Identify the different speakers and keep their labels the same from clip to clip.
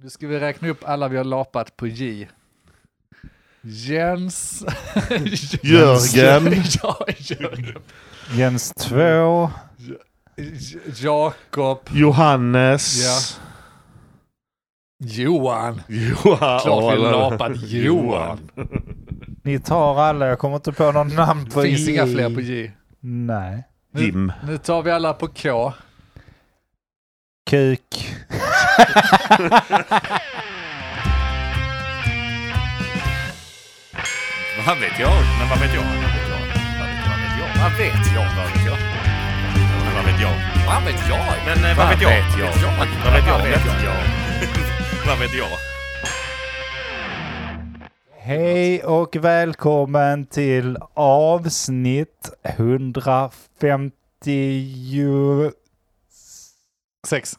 Speaker 1: Nu ska vi räkna upp alla vi har lapat på J. Jens.
Speaker 2: Jörgen.
Speaker 1: ja, Jörgen.
Speaker 3: Jens 2.
Speaker 1: J- Jakob.
Speaker 2: Johannes.
Speaker 1: Ja. Johan.
Speaker 2: Johan.
Speaker 1: Klart vi lapat Johan.
Speaker 3: Ni tar alla, jag kommer inte på någon namn på
Speaker 1: Finns
Speaker 3: J.
Speaker 1: inga fler på J.
Speaker 3: Nej.
Speaker 2: Jim.
Speaker 1: Nu tar vi alla på K.
Speaker 3: Kuk.
Speaker 4: Vad vet jag? Men vad vet jag? Vad vet jag? Vad vet jag? Vad vet jag? Men vad vet jag? Vad vet jag? Men eh, vad vet jag? Vad vet jag? Vad vet jag? Vad vet jag?
Speaker 3: Hej och välkommen till avsnitt 156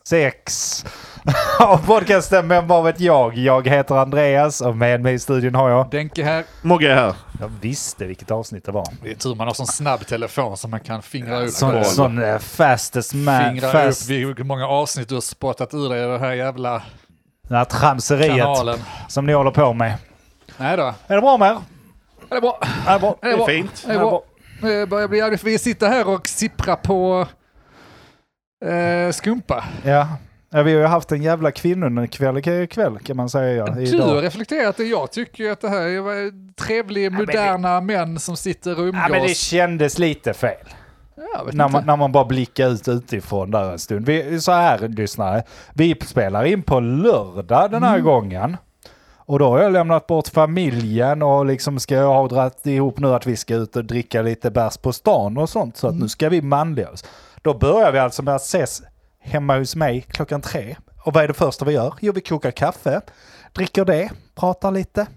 Speaker 1: Sex.
Speaker 3: av podcasten Men vad vet jag? Jag heter Andreas och med mig i studion har jag...
Speaker 1: Denke här.
Speaker 2: Mogge är här.
Speaker 3: Jag visste vilket avsnitt det var.
Speaker 1: Det är tur man har sån snabb telefon som man kan fingra upp.
Speaker 3: Sån,
Speaker 2: koll.
Speaker 3: sån eh, fastest man...
Speaker 1: Fingra
Speaker 3: Fast,
Speaker 1: upp vid hur många avsnitt du har spottat ur dig i den här jävla
Speaker 3: det här tramseriet
Speaker 1: kanalen.
Speaker 3: som ni håller på med.
Speaker 1: Nej då.
Speaker 3: Är det bra med er?
Speaker 1: Det är bra.
Speaker 3: Är det bra?
Speaker 1: Det är bra.
Speaker 2: Fint.
Speaker 1: Det är bra. Det börjar bli jävligt... Vi sitter här och sipprar på eh, skumpa.
Speaker 3: Ja. ja, vi har ju haft en jävla kvinnonekväll i kväll kan man säga. Ja,
Speaker 1: Du har
Speaker 3: idag.
Speaker 1: reflekterat det. Jag tycker ju att det här är trevliga,
Speaker 3: men det-
Speaker 1: moderna män som sitter och
Speaker 3: Ja, men det
Speaker 1: umgås.
Speaker 3: kändes lite fel.
Speaker 1: Jag vet
Speaker 3: När man,
Speaker 1: inte.
Speaker 3: när man bara blickar ut utifrån där en stund. Vi, så här, lyssnare. Vi spelar in på lördag den
Speaker 1: Mm.
Speaker 3: här gången. Och då har jag lämnat bort familjen och liksom ska jag ha dragit ihop nu att vi ska ut och dricka lite bärs på stan och sånt.
Speaker 1: Mm.
Speaker 3: Så att nu ska vi manliga oss. Då börjar vi alltså med att ses hemma hos mig klockan tre. Och vad är det första vi gör? Jo, vi kokar kaffe, dricker det, pratar lite.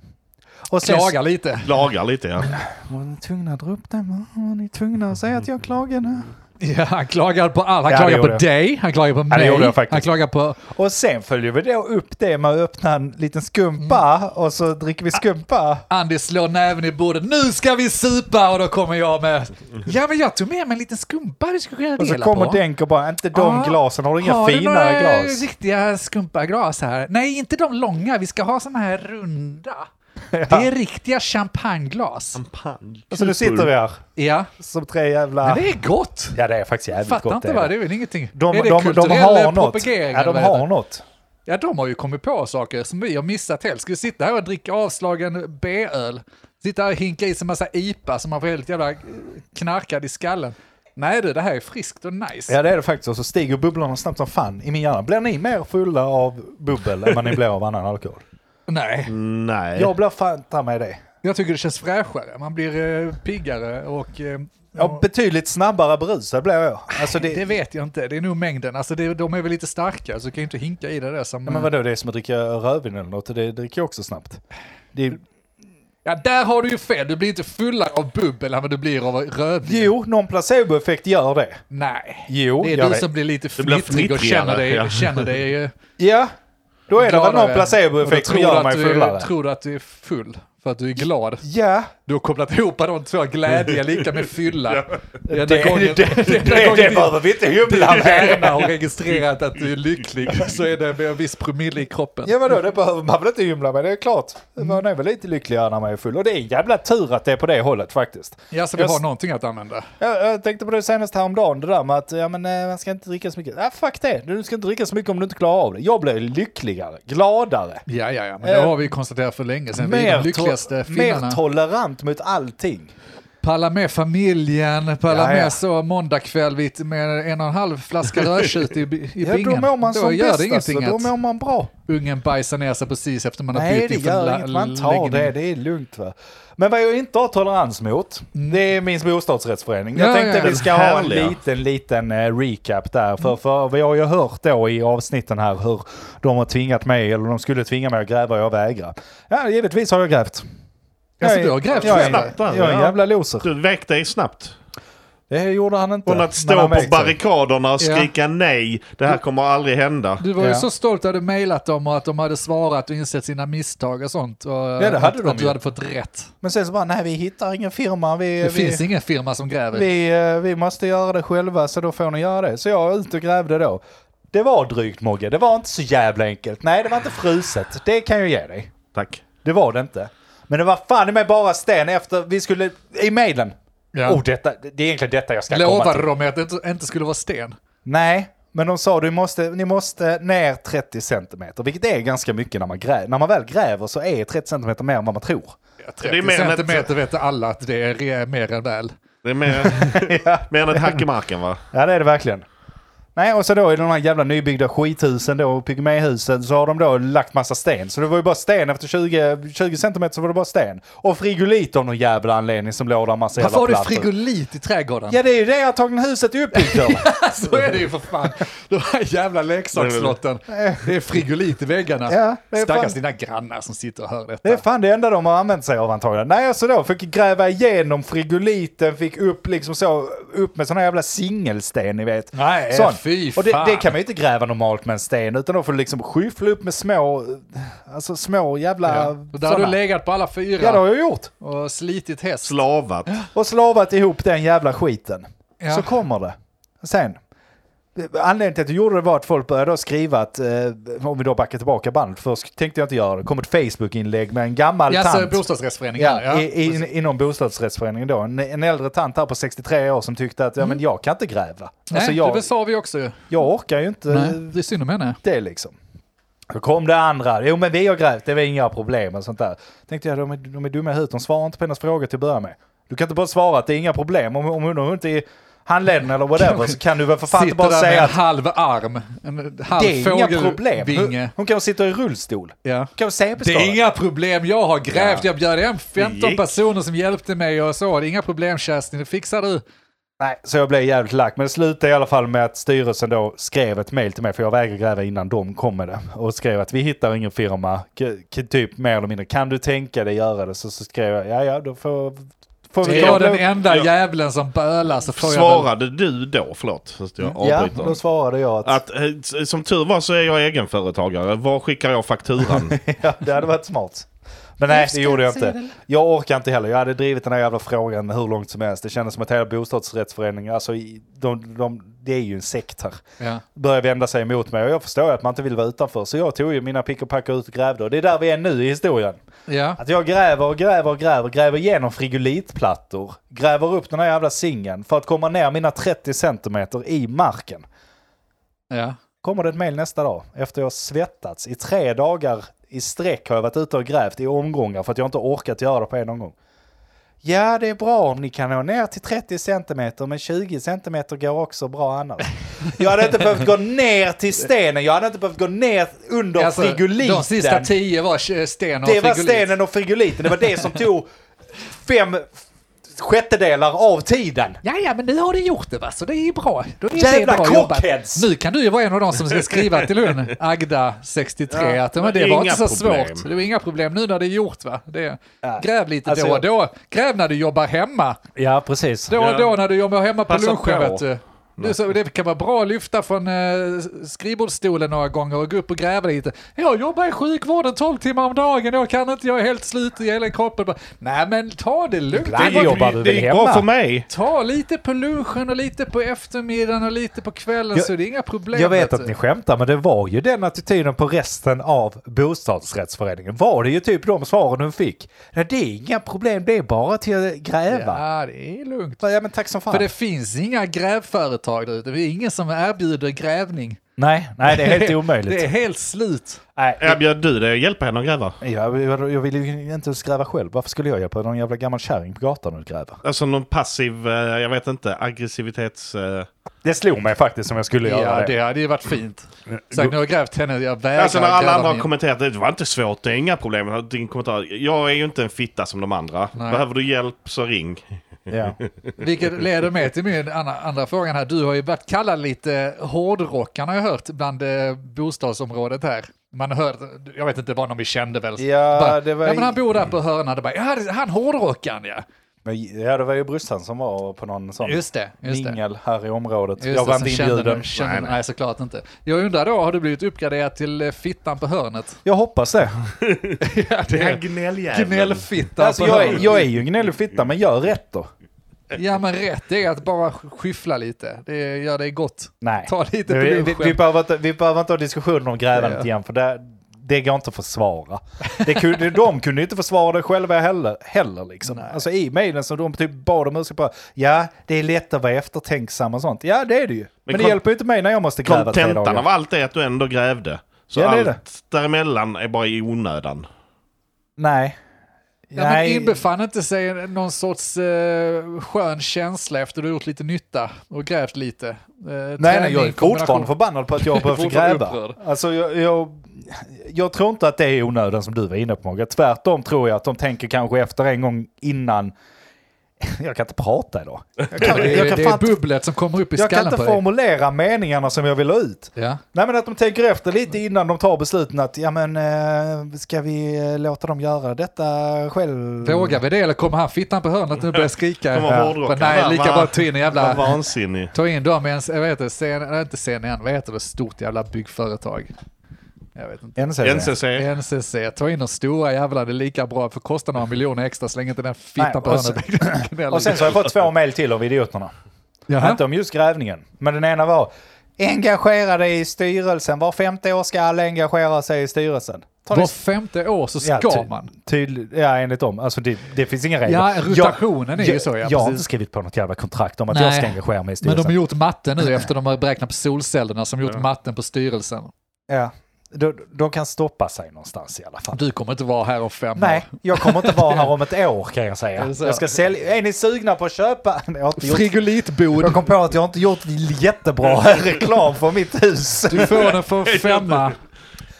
Speaker 3: Och sen-
Speaker 1: Klagar lite.
Speaker 2: Lagar lite ja.
Speaker 3: Var ni tvungna att dra upp det? Var ni tvungna att säga att jag klagade?
Speaker 1: Ja, han klagar på allt. Han
Speaker 3: Ja, det
Speaker 1: klagar på
Speaker 3: gjorde jag.
Speaker 1: dig, han klagar på
Speaker 3: det
Speaker 1: mig,
Speaker 3: gjorde jag faktiskt.
Speaker 1: han klagar på...
Speaker 3: Och sen följer vi då upp det med att öppna en liten skumpa
Speaker 1: Mm.
Speaker 3: och så dricker
Speaker 1: Ah.
Speaker 3: vi skumpa.
Speaker 1: Andy slår näven i bordet. Nu ska vi supa! Och då kommer jag med... Ja, men jag tog med mig en liten skumpa du skulle kunna
Speaker 3: Och så
Speaker 1: dela
Speaker 3: kommer
Speaker 1: på.
Speaker 3: Denk och bara, inte de
Speaker 1: Ja.
Speaker 3: glasen, har du inga
Speaker 1: har du
Speaker 3: finare
Speaker 1: några
Speaker 3: glas?
Speaker 1: riktiga skumpaglas här? Nej, inte de långa. Vi ska ha såna här runda. Det är riktiga champagneglas.
Speaker 3: Och så nu sitter vi här
Speaker 1: Ja,
Speaker 3: som tre
Speaker 1: men
Speaker 3: jävla...
Speaker 1: det är gott.
Speaker 3: Ja det är faktiskt jävligt
Speaker 1: Fattar
Speaker 3: gott.
Speaker 1: inte vad det är väl ingenting.
Speaker 3: De,
Speaker 1: är det
Speaker 3: de, de
Speaker 1: kulturell
Speaker 3: har något.
Speaker 1: propagering
Speaker 3: Ja,
Speaker 1: eller
Speaker 3: de
Speaker 1: vad heter
Speaker 3: har
Speaker 1: det?
Speaker 3: något.
Speaker 1: Ja, de har ju kommit på saker som vi har missat helt. Ska vi sitta här och dricka avslagen B-öl? Sitta här och hinka i sig en massa IPA som man får helt jävla eh, knarkad i skallen. Nej du, det här är friskt och nice.
Speaker 3: Ja det är det faktiskt. Och så stiger bubblorna snabbt som fan i min hjärna. Blir ni mer fulla av bubbel än vad ni blir av annan alkohol?
Speaker 1: Nej,
Speaker 2: Nej.
Speaker 3: Jag blir fan ta mig det.
Speaker 1: jag tycker det känns fräschare. Man blir eh, piggare och... Eh,
Speaker 3: Ja, betydligt snabbare berusad blir jag. Alltså det,
Speaker 1: det vet jag inte, det är nog mängden. Alltså det, de är väl lite starkare så du kan ju inte hinka i det där som...
Speaker 3: Ja, men vadå, det är som att dricka rödvin eller något, och det dricker jag också snabbt. Det är,
Speaker 1: ja, där har du ju fel. Du blir inte fullare av bubbel än vad du blir av rödvin.
Speaker 3: jo, någon placeboeffekt gör det.
Speaker 1: Nej.
Speaker 3: Jo,
Speaker 1: Det är
Speaker 3: jag
Speaker 1: du
Speaker 3: vet.
Speaker 1: som blir lite
Speaker 2: blir
Speaker 1: fnittrig och
Speaker 2: fnittrigare,
Speaker 1: känner dig,
Speaker 2: ja.
Speaker 1: känner dig eh,
Speaker 3: Ja, då är det väl någon
Speaker 1: gladare.
Speaker 3: placeboeffekt
Speaker 1: Och då tror
Speaker 3: som
Speaker 1: du
Speaker 3: gör
Speaker 1: att
Speaker 3: mig
Speaker 1: du-
Speaker 3: fullare.
Speaker 1: Tror du att du är full för att du är glad?
Speaker 3: Ja,
Speaker 1: Du har kopplat ihop de två, glädje lika med fylla.
Speaker 3: det,
Speaker 1: Denna
Speaker 3: det,
Speaker 1: gången-
Speaker 3: det, det,
Speaker 1: denna gången vi-
Speaker 3: behöver vi inte hymla
Speaker 1: du
Speaker 3: med.
Speaker 1: värnar och registrerat att du är lycklig så är det med en viss promille i kroppen.
Speaker 3: Ja vadå, det behöver man väl inte hymla med, det är klart. Man är väl lite lyckligare när man är full. Och det är en jävla tur att det är på det hållet faktiskt.
Speaker 1: Ja, så vi
Speaker 3: Jag s-
Speaker 1: har någonting att använda.
Speaker 3: Jag, jag tänkte på det senast häromdagen, det där med att ja, men, eh, man ska inte dricka så mycket. Ja, fuck det, du ska inte dricka så mycket om du inte klarar av det. Jag blir lyckligare, gladare.
Speaker 1: Ja, ja, ja, men det
Speaker 3: Eh,
Speaker 1: har vi konstaterat för länge sedan. Vi är
Speaker 3: mer,
Speaker 1: de lyckligaste
Speaker 3: to- mer
Speaker 1: finnarna.
Speaker 3: tolerant mot allting.
Speaker 1: Palla med familjen, palla
Speaker 3: Ja, ja.
Speaker 1: med så måndag kväll vid- med en och en halv flaska rödtjut i, i
Speaker 3: Ja,
Speaker 1: bingen.
Speaker 3: då mår man
Speaker 1: Då
Speaker 3: som
Speaker 1: gör
Speaker 3: bäst
Speaker 1: det ingenting
Speaker 3: alltså.
Speaker 1: att
Speaker 3: Då mår man bra.
Speaker 1: ungen bajsar ner sig precis efter man har
Speaker 3: Nej,
Speaker 1: bytt
Speaker 3: det
Speaker 1: inför la-
Speaker 3: gör inget. Man tar
Speaker 1: läggning.
Speaker 3: det. Det är lugnt. Va? Men vad jag inte har tolerans mot, det är min bostadsrättsförening.
Speaker 1: Mm. Ja,
Speaker 3: Jag tänkte
Speaker 1: ja, Mm. ja.
Speaker 3: vi ska ha en
Speaker 2: Härliga.
Speaker 3: liten, liten eh, recap där. För, för vi har ju hört då i avsnitten här hur de har tvingat mig, eller de skulle tvinga mig att gräva och jag vägrar. Ja, givetvis har jag grävt.
Speaker 1: Alltså,
Speaker 3: Jag är-
Speaker 1: du har grävt
Speaker 3: jag är,
Speaker 2: snabbt där,
Speaker 3: jag är en
Speaker 2: ja.
Speaker 3: jävla loser.
Speaker 2: Du väck dig snabbt.
Speaker 3: Det gjorde han inte.
Speaker 2: Från att
Speaker 3: men
Speaker 2: stå
Speaker 3: han
Speaker 2: på
Speaker 3: vägde.
Speaker 2: barrikaderna och
Speaker 1: Ja.
Speaker 2: skrika nej. Det här kommer aldrig hända.
Speaker 1: Du var ju
Speaker 3: Ja.
Speaker 1: så stolt att du mejlat dem och att de hade svarat och insett sina misstag och sånt. Och
Speaker 3: det hade
Speaker 1: att,
Speaker 3: de
Speaker 1: att du
Speaker 3: ju.
Speaker 1: hade fått rätt.
Speaker 3: Men sen så bara, nej vi hittar ingen firma. Vi,
Speaker 1: Det
Speaker 3: vi,
Speaker 1: finns ingen firma som gräver.
Speaker 3: vi, eh, vi måste göra det själva så då får ni göra det. Så jag var ute och grävde då. det var drygt Mogge. Det var inte så jävla enkelt. Nej, det var inte fruset. Det kan jag ge dig.
Speaker 2: Tack.
Speaker 3: Det var det inte. Men det var fan i mig bara sten efter vi skulle... I mejlen.
Speaker 1: Ja.
Speaker 3: Oh, detta, det är egentligen detta jag ska komma
Speaker 1: Lovade
Speaker 3: till.
Speaker 1: de mig att det inte- inte skulle vara sten?
Speaker 3: Nej, men de sa du måste, ni måste ner 30 centimeter. Vilket är ganska mycket när man gräver. När man väl gräver så är 30 centimeter mer än vad man tror.
Speaker 1: Ja,
Speaker 2: Det
Speaker 1: 30
Speaker 2: är mer än ett-
Speaker 1: centimeter vet alla att det är re- mer än väl.
Speaker 2: Det är mer, mer än ett hack i marken va?
Speaker 3: Ja, det är det verkligen. Nej, och så då i de här jävla nybyggda skithusen då, pygméhusen, så har de då lagt massa sten. Så det var ju bara sten efter 20, 20 centimeter så var det bara sten. Och frigolit av någon jävla anledning som låg där massa
Speaker 1: Varför har du
Speaker 3: plattor.
Speaker 1: frigolit i trädgården?
Speaker 3: Ja, det är ju det antagligen huset är uppbyggt av.
Speaker 1: Så är det ju för fan. De här jävla leksakslotten. Det är frigolit i väggarna.
Speaker 3: Ja, det är
Speaker 1: Stackars
Speaker 3: fan-
Speaker 1: dina grannar som sitter och hör detta.
Speaker 3: Det är fan det enda de har använt sig av antagligen. Nej, så då fick jag gräva igenom frigoliten, fick upp liksom så, upp med såna jävla singelsten, ni vet.
Speaker 1: Nej,
Speaker 3: Sån.
Speaker 1: Eh, fy
Speaker 3: Och det,
Speaker 1: fan.
Speaker 3: det kan man ju inte gräva normalt med en sten, utan då får du liksom skyffla upp med små, alltså små jävla...
Speaker 1: Ja. Och där har du
Speaker 3: såna.
Speaker 1: legat på alla fyra
Speaker 3: Ja, det har jag gjort.
Speaker 1: och slitit häst.
Speaker 2: Slavat.
Speaker 3: Och slavat ihop den jävla skiten.
Speaker 1: Ja.
Speaker 3: Så kommer det. Sen. Anledningen till att jag gjorde det var att folk började då skriva att, eh, om vi då backar tillbaka bandet, först tänkte jag inte göra det, kom ett Facebook-inlägg med en gammal
Speaker 1: Ja, så
Speaker 3: tant.
Speaker 1: bostadsrättsföreningen.
Speaker 3: Ja, i, i, inom bostadsrättsföreningen då. En, en äldre tant här på 63 år som tyckte att ja, men jag kan inte gräva.
Speaker 1: Mm. Nej,
Speaker 3: alltså,
Speaker 1: det
Speaker 3: jag, Mm.
Speaker 1: sa vi också ju.
Speaker 3: jag orkar ju inte
Speaker 1: Nej, det är synd om henne.
Speaker 3: det liksom. Då kom det andra. Jo men vi har grävt, det var inga problem och sånt där. Tänkte jag, de är, de är dumma i huvudet, de svarar inte på hennes frågor till att börja med. Du kan inte bara svara att det är inga problem. Om, om hon inte är handleden eller whatever så kan du väl för fan inte
Speaker 1: Sitter
Speaker 3: bara
Speaker 1: där med
Speaker 3: säga
Speaker 1: en
Speaker 3: att
Speaker 1: halv arm, en halv
Speaker 3: det är inga problem. Hon,
Speaker 1: fågelvinge.
Speaker 3: hon kan sitta i rullstol.
Speaker 1: Ja.
Speaker 3: Hon kan säga
Speaker 1: Det är inga problem, jag har grävt, jag bjöd hem 15
Speaker 2: gick.
Speaker 1: personer som hjälpte mig och så. Det är inga problem Kerstin, det fixar du.
Speaker 3: Nej, så jag blev jävligt lack. Men det slutade i alla fall med att styrelsen då skrev ett mejl till mig, för jag vägrade gräva innan de kom med det. Och skrev att vi hittar ingen firma, K- k- typ mer eller mindre. Kan du tänka dig göra det? Så, så skrev jag, ja ja, då får, får
Speaker 1: Är
Speaker 3: vi
Speaker 1: jag
Speaker 3: då-
Speaker 1: den enda
Speaker 2: Ja.
Speaker 1: jävlen som bölar så får jag väl...
Speaker 2: Svarade du då? Förlåt, så att jag
Speaker 3: Ja,
Speaker 2: avbryter.
Speaker 3: då svarade jag att,
Speaker 2: Att, eh, s- som tur var så är jag egenföretagare. Var skickar jag fakturan?
Speaker 3: ja, det hade varit smart. Men nej, det gjorde jag inte. Jag orkar inte heller. Jag hade drivit den här jävla frågan hur långt som helst. Det kändes som att hela bostadsrättsföreningen, alltså i- de, de, det är ju en sekt här.
Speaker 1: Ja.
Speaker 3: börjar vända sig emot mig och jag förstår ju att man inte vill vara utanför så jag tog ju mina pick och pack och ut och grävde och det är där vi är nu i historien.
Speaker 1: Ja.
Speaker 3: Att jag gräver och gräver och gräver, gräver igenom frigolitplattor, gräver upp den här jävla singeln för att komma ner mina 30 centimeter i marken.
Speaker 1: Ja.
Speaker 3: Kommer det ett mejl nästa dag efter jag har svettats i tre dagar i sträck har jag varit ute och grävt i omgångar för att jag inte orkat göra det på en gång. Ja, det är bra om ni kan nå ner till 30 centimeter, men 20 centimeter går också bra annars. Jag hade inte behövt gå ner till stenen, jag hade inte behövt gå ner under
Speaker 1: Alltså,
Speaker 3: frigoliten.
Speaker 1: de sista tio var eh, sten och
Speaker 3: det var
Speaker 1: frigolit.
Speaker 3: stenen och frigoliten, det var det som tog fem sjättedelar av tiden.
Speaker 1: Ja, ja, men nu har du gjort det va, så det är ju bra. Då är
Speaker 3: Jävla
Speaker 1: det bra jobbat.
Speaker 3: cockheads!
Speaker 1: Nu kan du ju vara en av de som ska skriva till hon, Agda, 63,
Speaker 2: Ja,
Speaker 1: att men det
Speaker 2: inga
Speaker 1: var inte så
Speaker 2: problem.
Speaker 1: svårt. Det var inga problem nu när det är gjort va. Det,
Speaker 3: Ja.
Speaker 1: Gräv lite
Speaker 3: Alltså,
Speaker 1: då och då. Gräv när du jobbar hemma.
Speaker 3: Ja, precis.
Speaker 1: Då och
Speaker 2: Ja.
Speaker 1: då när du jobbar hemma på
Speaker 2: Passa
Speaker 1: lunchen
Speaker 2: på.
Speaker 1: vet du. Du, så det kan vara bra att lyfta från eh, skrivbordsstolen några gånger och gå upp och gräva lite. Jag jobbar i sjukvården 12 timmar om dagen, jag kan inte, jag är helt slut i hela kroppen. Bara, Nej men ta det lugnt.
Speaker 3: Ibland
Speaker 1: Det var-
Speaker 3: jobbar du
Speaker 2: det
Speaker 3: väl
Speaker 2: gick
Speaker 3: hemma?
Speaker 2: bra för mig.
Speaker 1: Ta lite på lunchen och lite på eftermiddagen och lite på kvällen
Speaker 3: Jag-
Speaker 1: så det är inga problem.
Speaker 3: Jag vet
Speaker 1: du.
Speaker 3: att ni skämtar, men det var ju den attityden på resten av bostadsrättsföreningen. Var det ju typ de svaren hon fick? Nej, det är inga problem, det är bara till att gräva.
Speaker 1: Ja, det är lugnt.
Speaker 3: Ja, men tack som fan.
Speaker 1: För det finns inga grävföretag där ute. Det är ingen som erbjuder grävning.
Speaker 3: Nej, nej, det är helt omöjligt.
Speaker 1: Det är helt slut.
Speaker 3: Nej,
Speaker 2: Erbjöd du dig att hjälpa henne att gräva?
Speaker 3: jag, jag, jag vill ju inte ens gräva själv. Varför skulle jag hjälpa någon jävla gammal kärring på gatan att gräva?
Speaker 2: Alltså någon passiv, eh, jag vet inte, aggressivitets... eh,
Speaker 3: Det slog mig faktiskt om jag skulle göra
Speaker 1: Ja,
Speaker 3: det.
Speaker 1: det hade ju varit fint. Sagt, nu har jag grävt henne, jag vägrar
Speaker 2: Alltså när alla
Speaker 1: gräva
Speaker 2: andra har
Speaker 1: min.
Speaker 2: kommenterat det var inte svårt, det är inga problem. Din kommentar, jag är ju inte en fitta som de andra.
Speaker 1: Nej.
Speaker 2: Behöver du hjälp så ring.
Speaker 3: Ja.
Speaker 1: Vilket leder mig till min andra, andra frågan här. Du har ju varit kallad lite hårdrockaren har jag hört bland eh, bostadsområdet här. Man hör, jag vet inte, det var någon vi kände väl.
Speaker 3: Ja,
Speaker 1: bara,
Speaker 3: det var
Speaker 1: ja
Speaker 3: i-
Speaker 1: men han bor där på hörnan. Det bara, ja, det- han hårdrockaren ja.
Speaker 3: Men, ja, det var ju brorsan som var på någon sån
Speaker 1: Just det, just det.
Speaker 3: mingel här i området.
Speaker 1: Just
Speaker 3: jag
Speaker 1: det,
Speaker 3: var
Speaker 1: som
Speaker 3: inte
Speaker 1: kände
Speaker 3: inbjuden.
Speaker 1: du- Kände, nej, nej, såklart inte. Jag undrar då, har du blivit uppgraderad till eh, fittan på hörnet?
Speaker 3: Jag hoppas det.
Speaker 1: Ja, det
Speaker 2: gnälljäveln.
Speaker 1: gnällfittan
Speaker 3: Alltså,
Speaker 1: på
Speaker 3: jag, är-
Speaker 1: hörnet.
Speaker 3: jag är ju en gnällig fitta, men gör rätt då.
Speaker 1: Ja men rätt är att bara skyffla lite. Det gör det gott.
Speaker 3: Nej.
Speaker 1: Ta lite på
Speaker 3: vi, vi, vi,
Speaker 1: lunchen.
Speaker 3: behöver inte, vi behöver inte ha diskussioner om grävandet
Speaker 1: Ja.
Speaker 3: igen, för det, det går inte att försvara. Det kunde, de kunde inte försvara det själva heller. heller liksom. Alltså i mejlen som de typ bad om ursäkt på. Ja, det är lätt att vara eftertänksam och sånt. Ja, det är det ju. Men, det
Speaker 2: kon-
Speaker 3: hjälper ju inte mig när jag måste gräva tre
Speaker 2: Kontentan av
Speaker 3: dagar.
Speaker 2: allt är att du ändå grävde. Så
Speaker 3: Ja, det är
Speaker 2: allt däremellan är bara i onödan.
Speaker 3: Nej.
Speaker 1: Ja, men inbefann inte sig någon sorts eh, skön känsla efter du gjort lite nytta och grävt lite? Eh,
Speaker 3: Nej, nej,
Speaker 1: träning,
Speaker 3: jag är fortfarande
Speaker 1: kombination.
Speaker 3: förbannad på att jag behövde
Speaker 1: Fortfarande
Speaker 3: gräva.
Speaker 1: upprörd.
Speaker 3: Alltså, jag, jag, jag tror inte att det är onöden som du var inne på Mogge. Tvärtom tror jag att de tänker kanske efter en gång innan. Jag kan inte prata idag. Jag kan,
Speaker 1: Det
Speaker 3: jag
Speaker 1: är,
Speaker 3: kan,
Speaker 1: det är
Speaker 3: fan, inte-
Speaker 1: bubblet som kommer upp i
Speaker 3: jag kan
Speaker 1: skallen
Speaker 3: inte
Speaker 1: på dig.
Speaker 3: formulera meningarna som jag vill ha ut.
Speaker 1: Ja.
Speaker 3: Nej men att de tänker efter lite innan de tar besluten att ja men eh, ska vi eh, låta dem göra detta själv?
Speaker 1: Vågar vi det eller kommer han fittan på hörnet nu och börjar skrika?
Speaker 2: Kommer hårdrockaren.
Speaker 1: Nej,
Speaker 2: Va-
Speaker 1: lika
Speaker 2: va-
Speaker 1: bra ta in en jävla...
Speaker 2: Vad vansinnig.
Speaker 1: Ta in dem i en, jag vet inte, CN, nej, inte CNN, vad heter det, stort jävla byggföretag? Jag vet inte.
Speaker 3: NCC.
Speaker 2: NCC.
Speaker 1: NCC, ta in de stora jävlarna, det är lika bra, för kostar några miljoner extra, släng inte den
Speaker 3: Nej,
Speaker 1: fittan på
Speaker 3: och sen-
Speaker 1: hörnet.
Speaker 3: Och sen så har jag fått två mejl till av idioterna.
Speaker 1: Jaha.
Speaker 3: Inte om just grävningen. Men den ena var engagerade i styrelsen. Var femte år ska alla engagera sig i styrelsen. Tar ni-
Speaker 1: Var femte år så ska
Speaker 3: Ja, typ. ty-
Speaker 1: man.
Speaker 3: Tydligt, ja, enligt dem. Alltså det, det finns inga regler.
Speaker 1: Ja, rotationen är ju så, ja,
Speaker 3: Jag, jag har
Speaker 1: precis.
Speaker 3: inte skrivit på något jävla kontrakt om att
Speaker 1: Nej.
Speaker 3: jag ska engagera mig i
Speaker 1: Men de
Speaker 3: styrelsen.
Speaker 1: har gjort matte nu efter de har beräknat på solcellerna som gjort matten på styrelsen.
Speaker 3: ja, de, de kan stoppa sig någonstans i alla fall.
Speaker 1: Du kommer inte vara här om fem
Speaker 3: Nej,
Speaker 1: år.
Speaker 3: jag kommer inte vara här om ett år kan jag säga.
Speaker 1: Är det så?
Speaker 3: Jag ska sälja. Är ni sugna på att köpa? Jag har inte gjort,
Speaker 1: Frigolitbod.
Speaker 3: jag kom på att jag inte gjort jättebra reklam för mitt hus.
Speaker 1: Du får den för femma.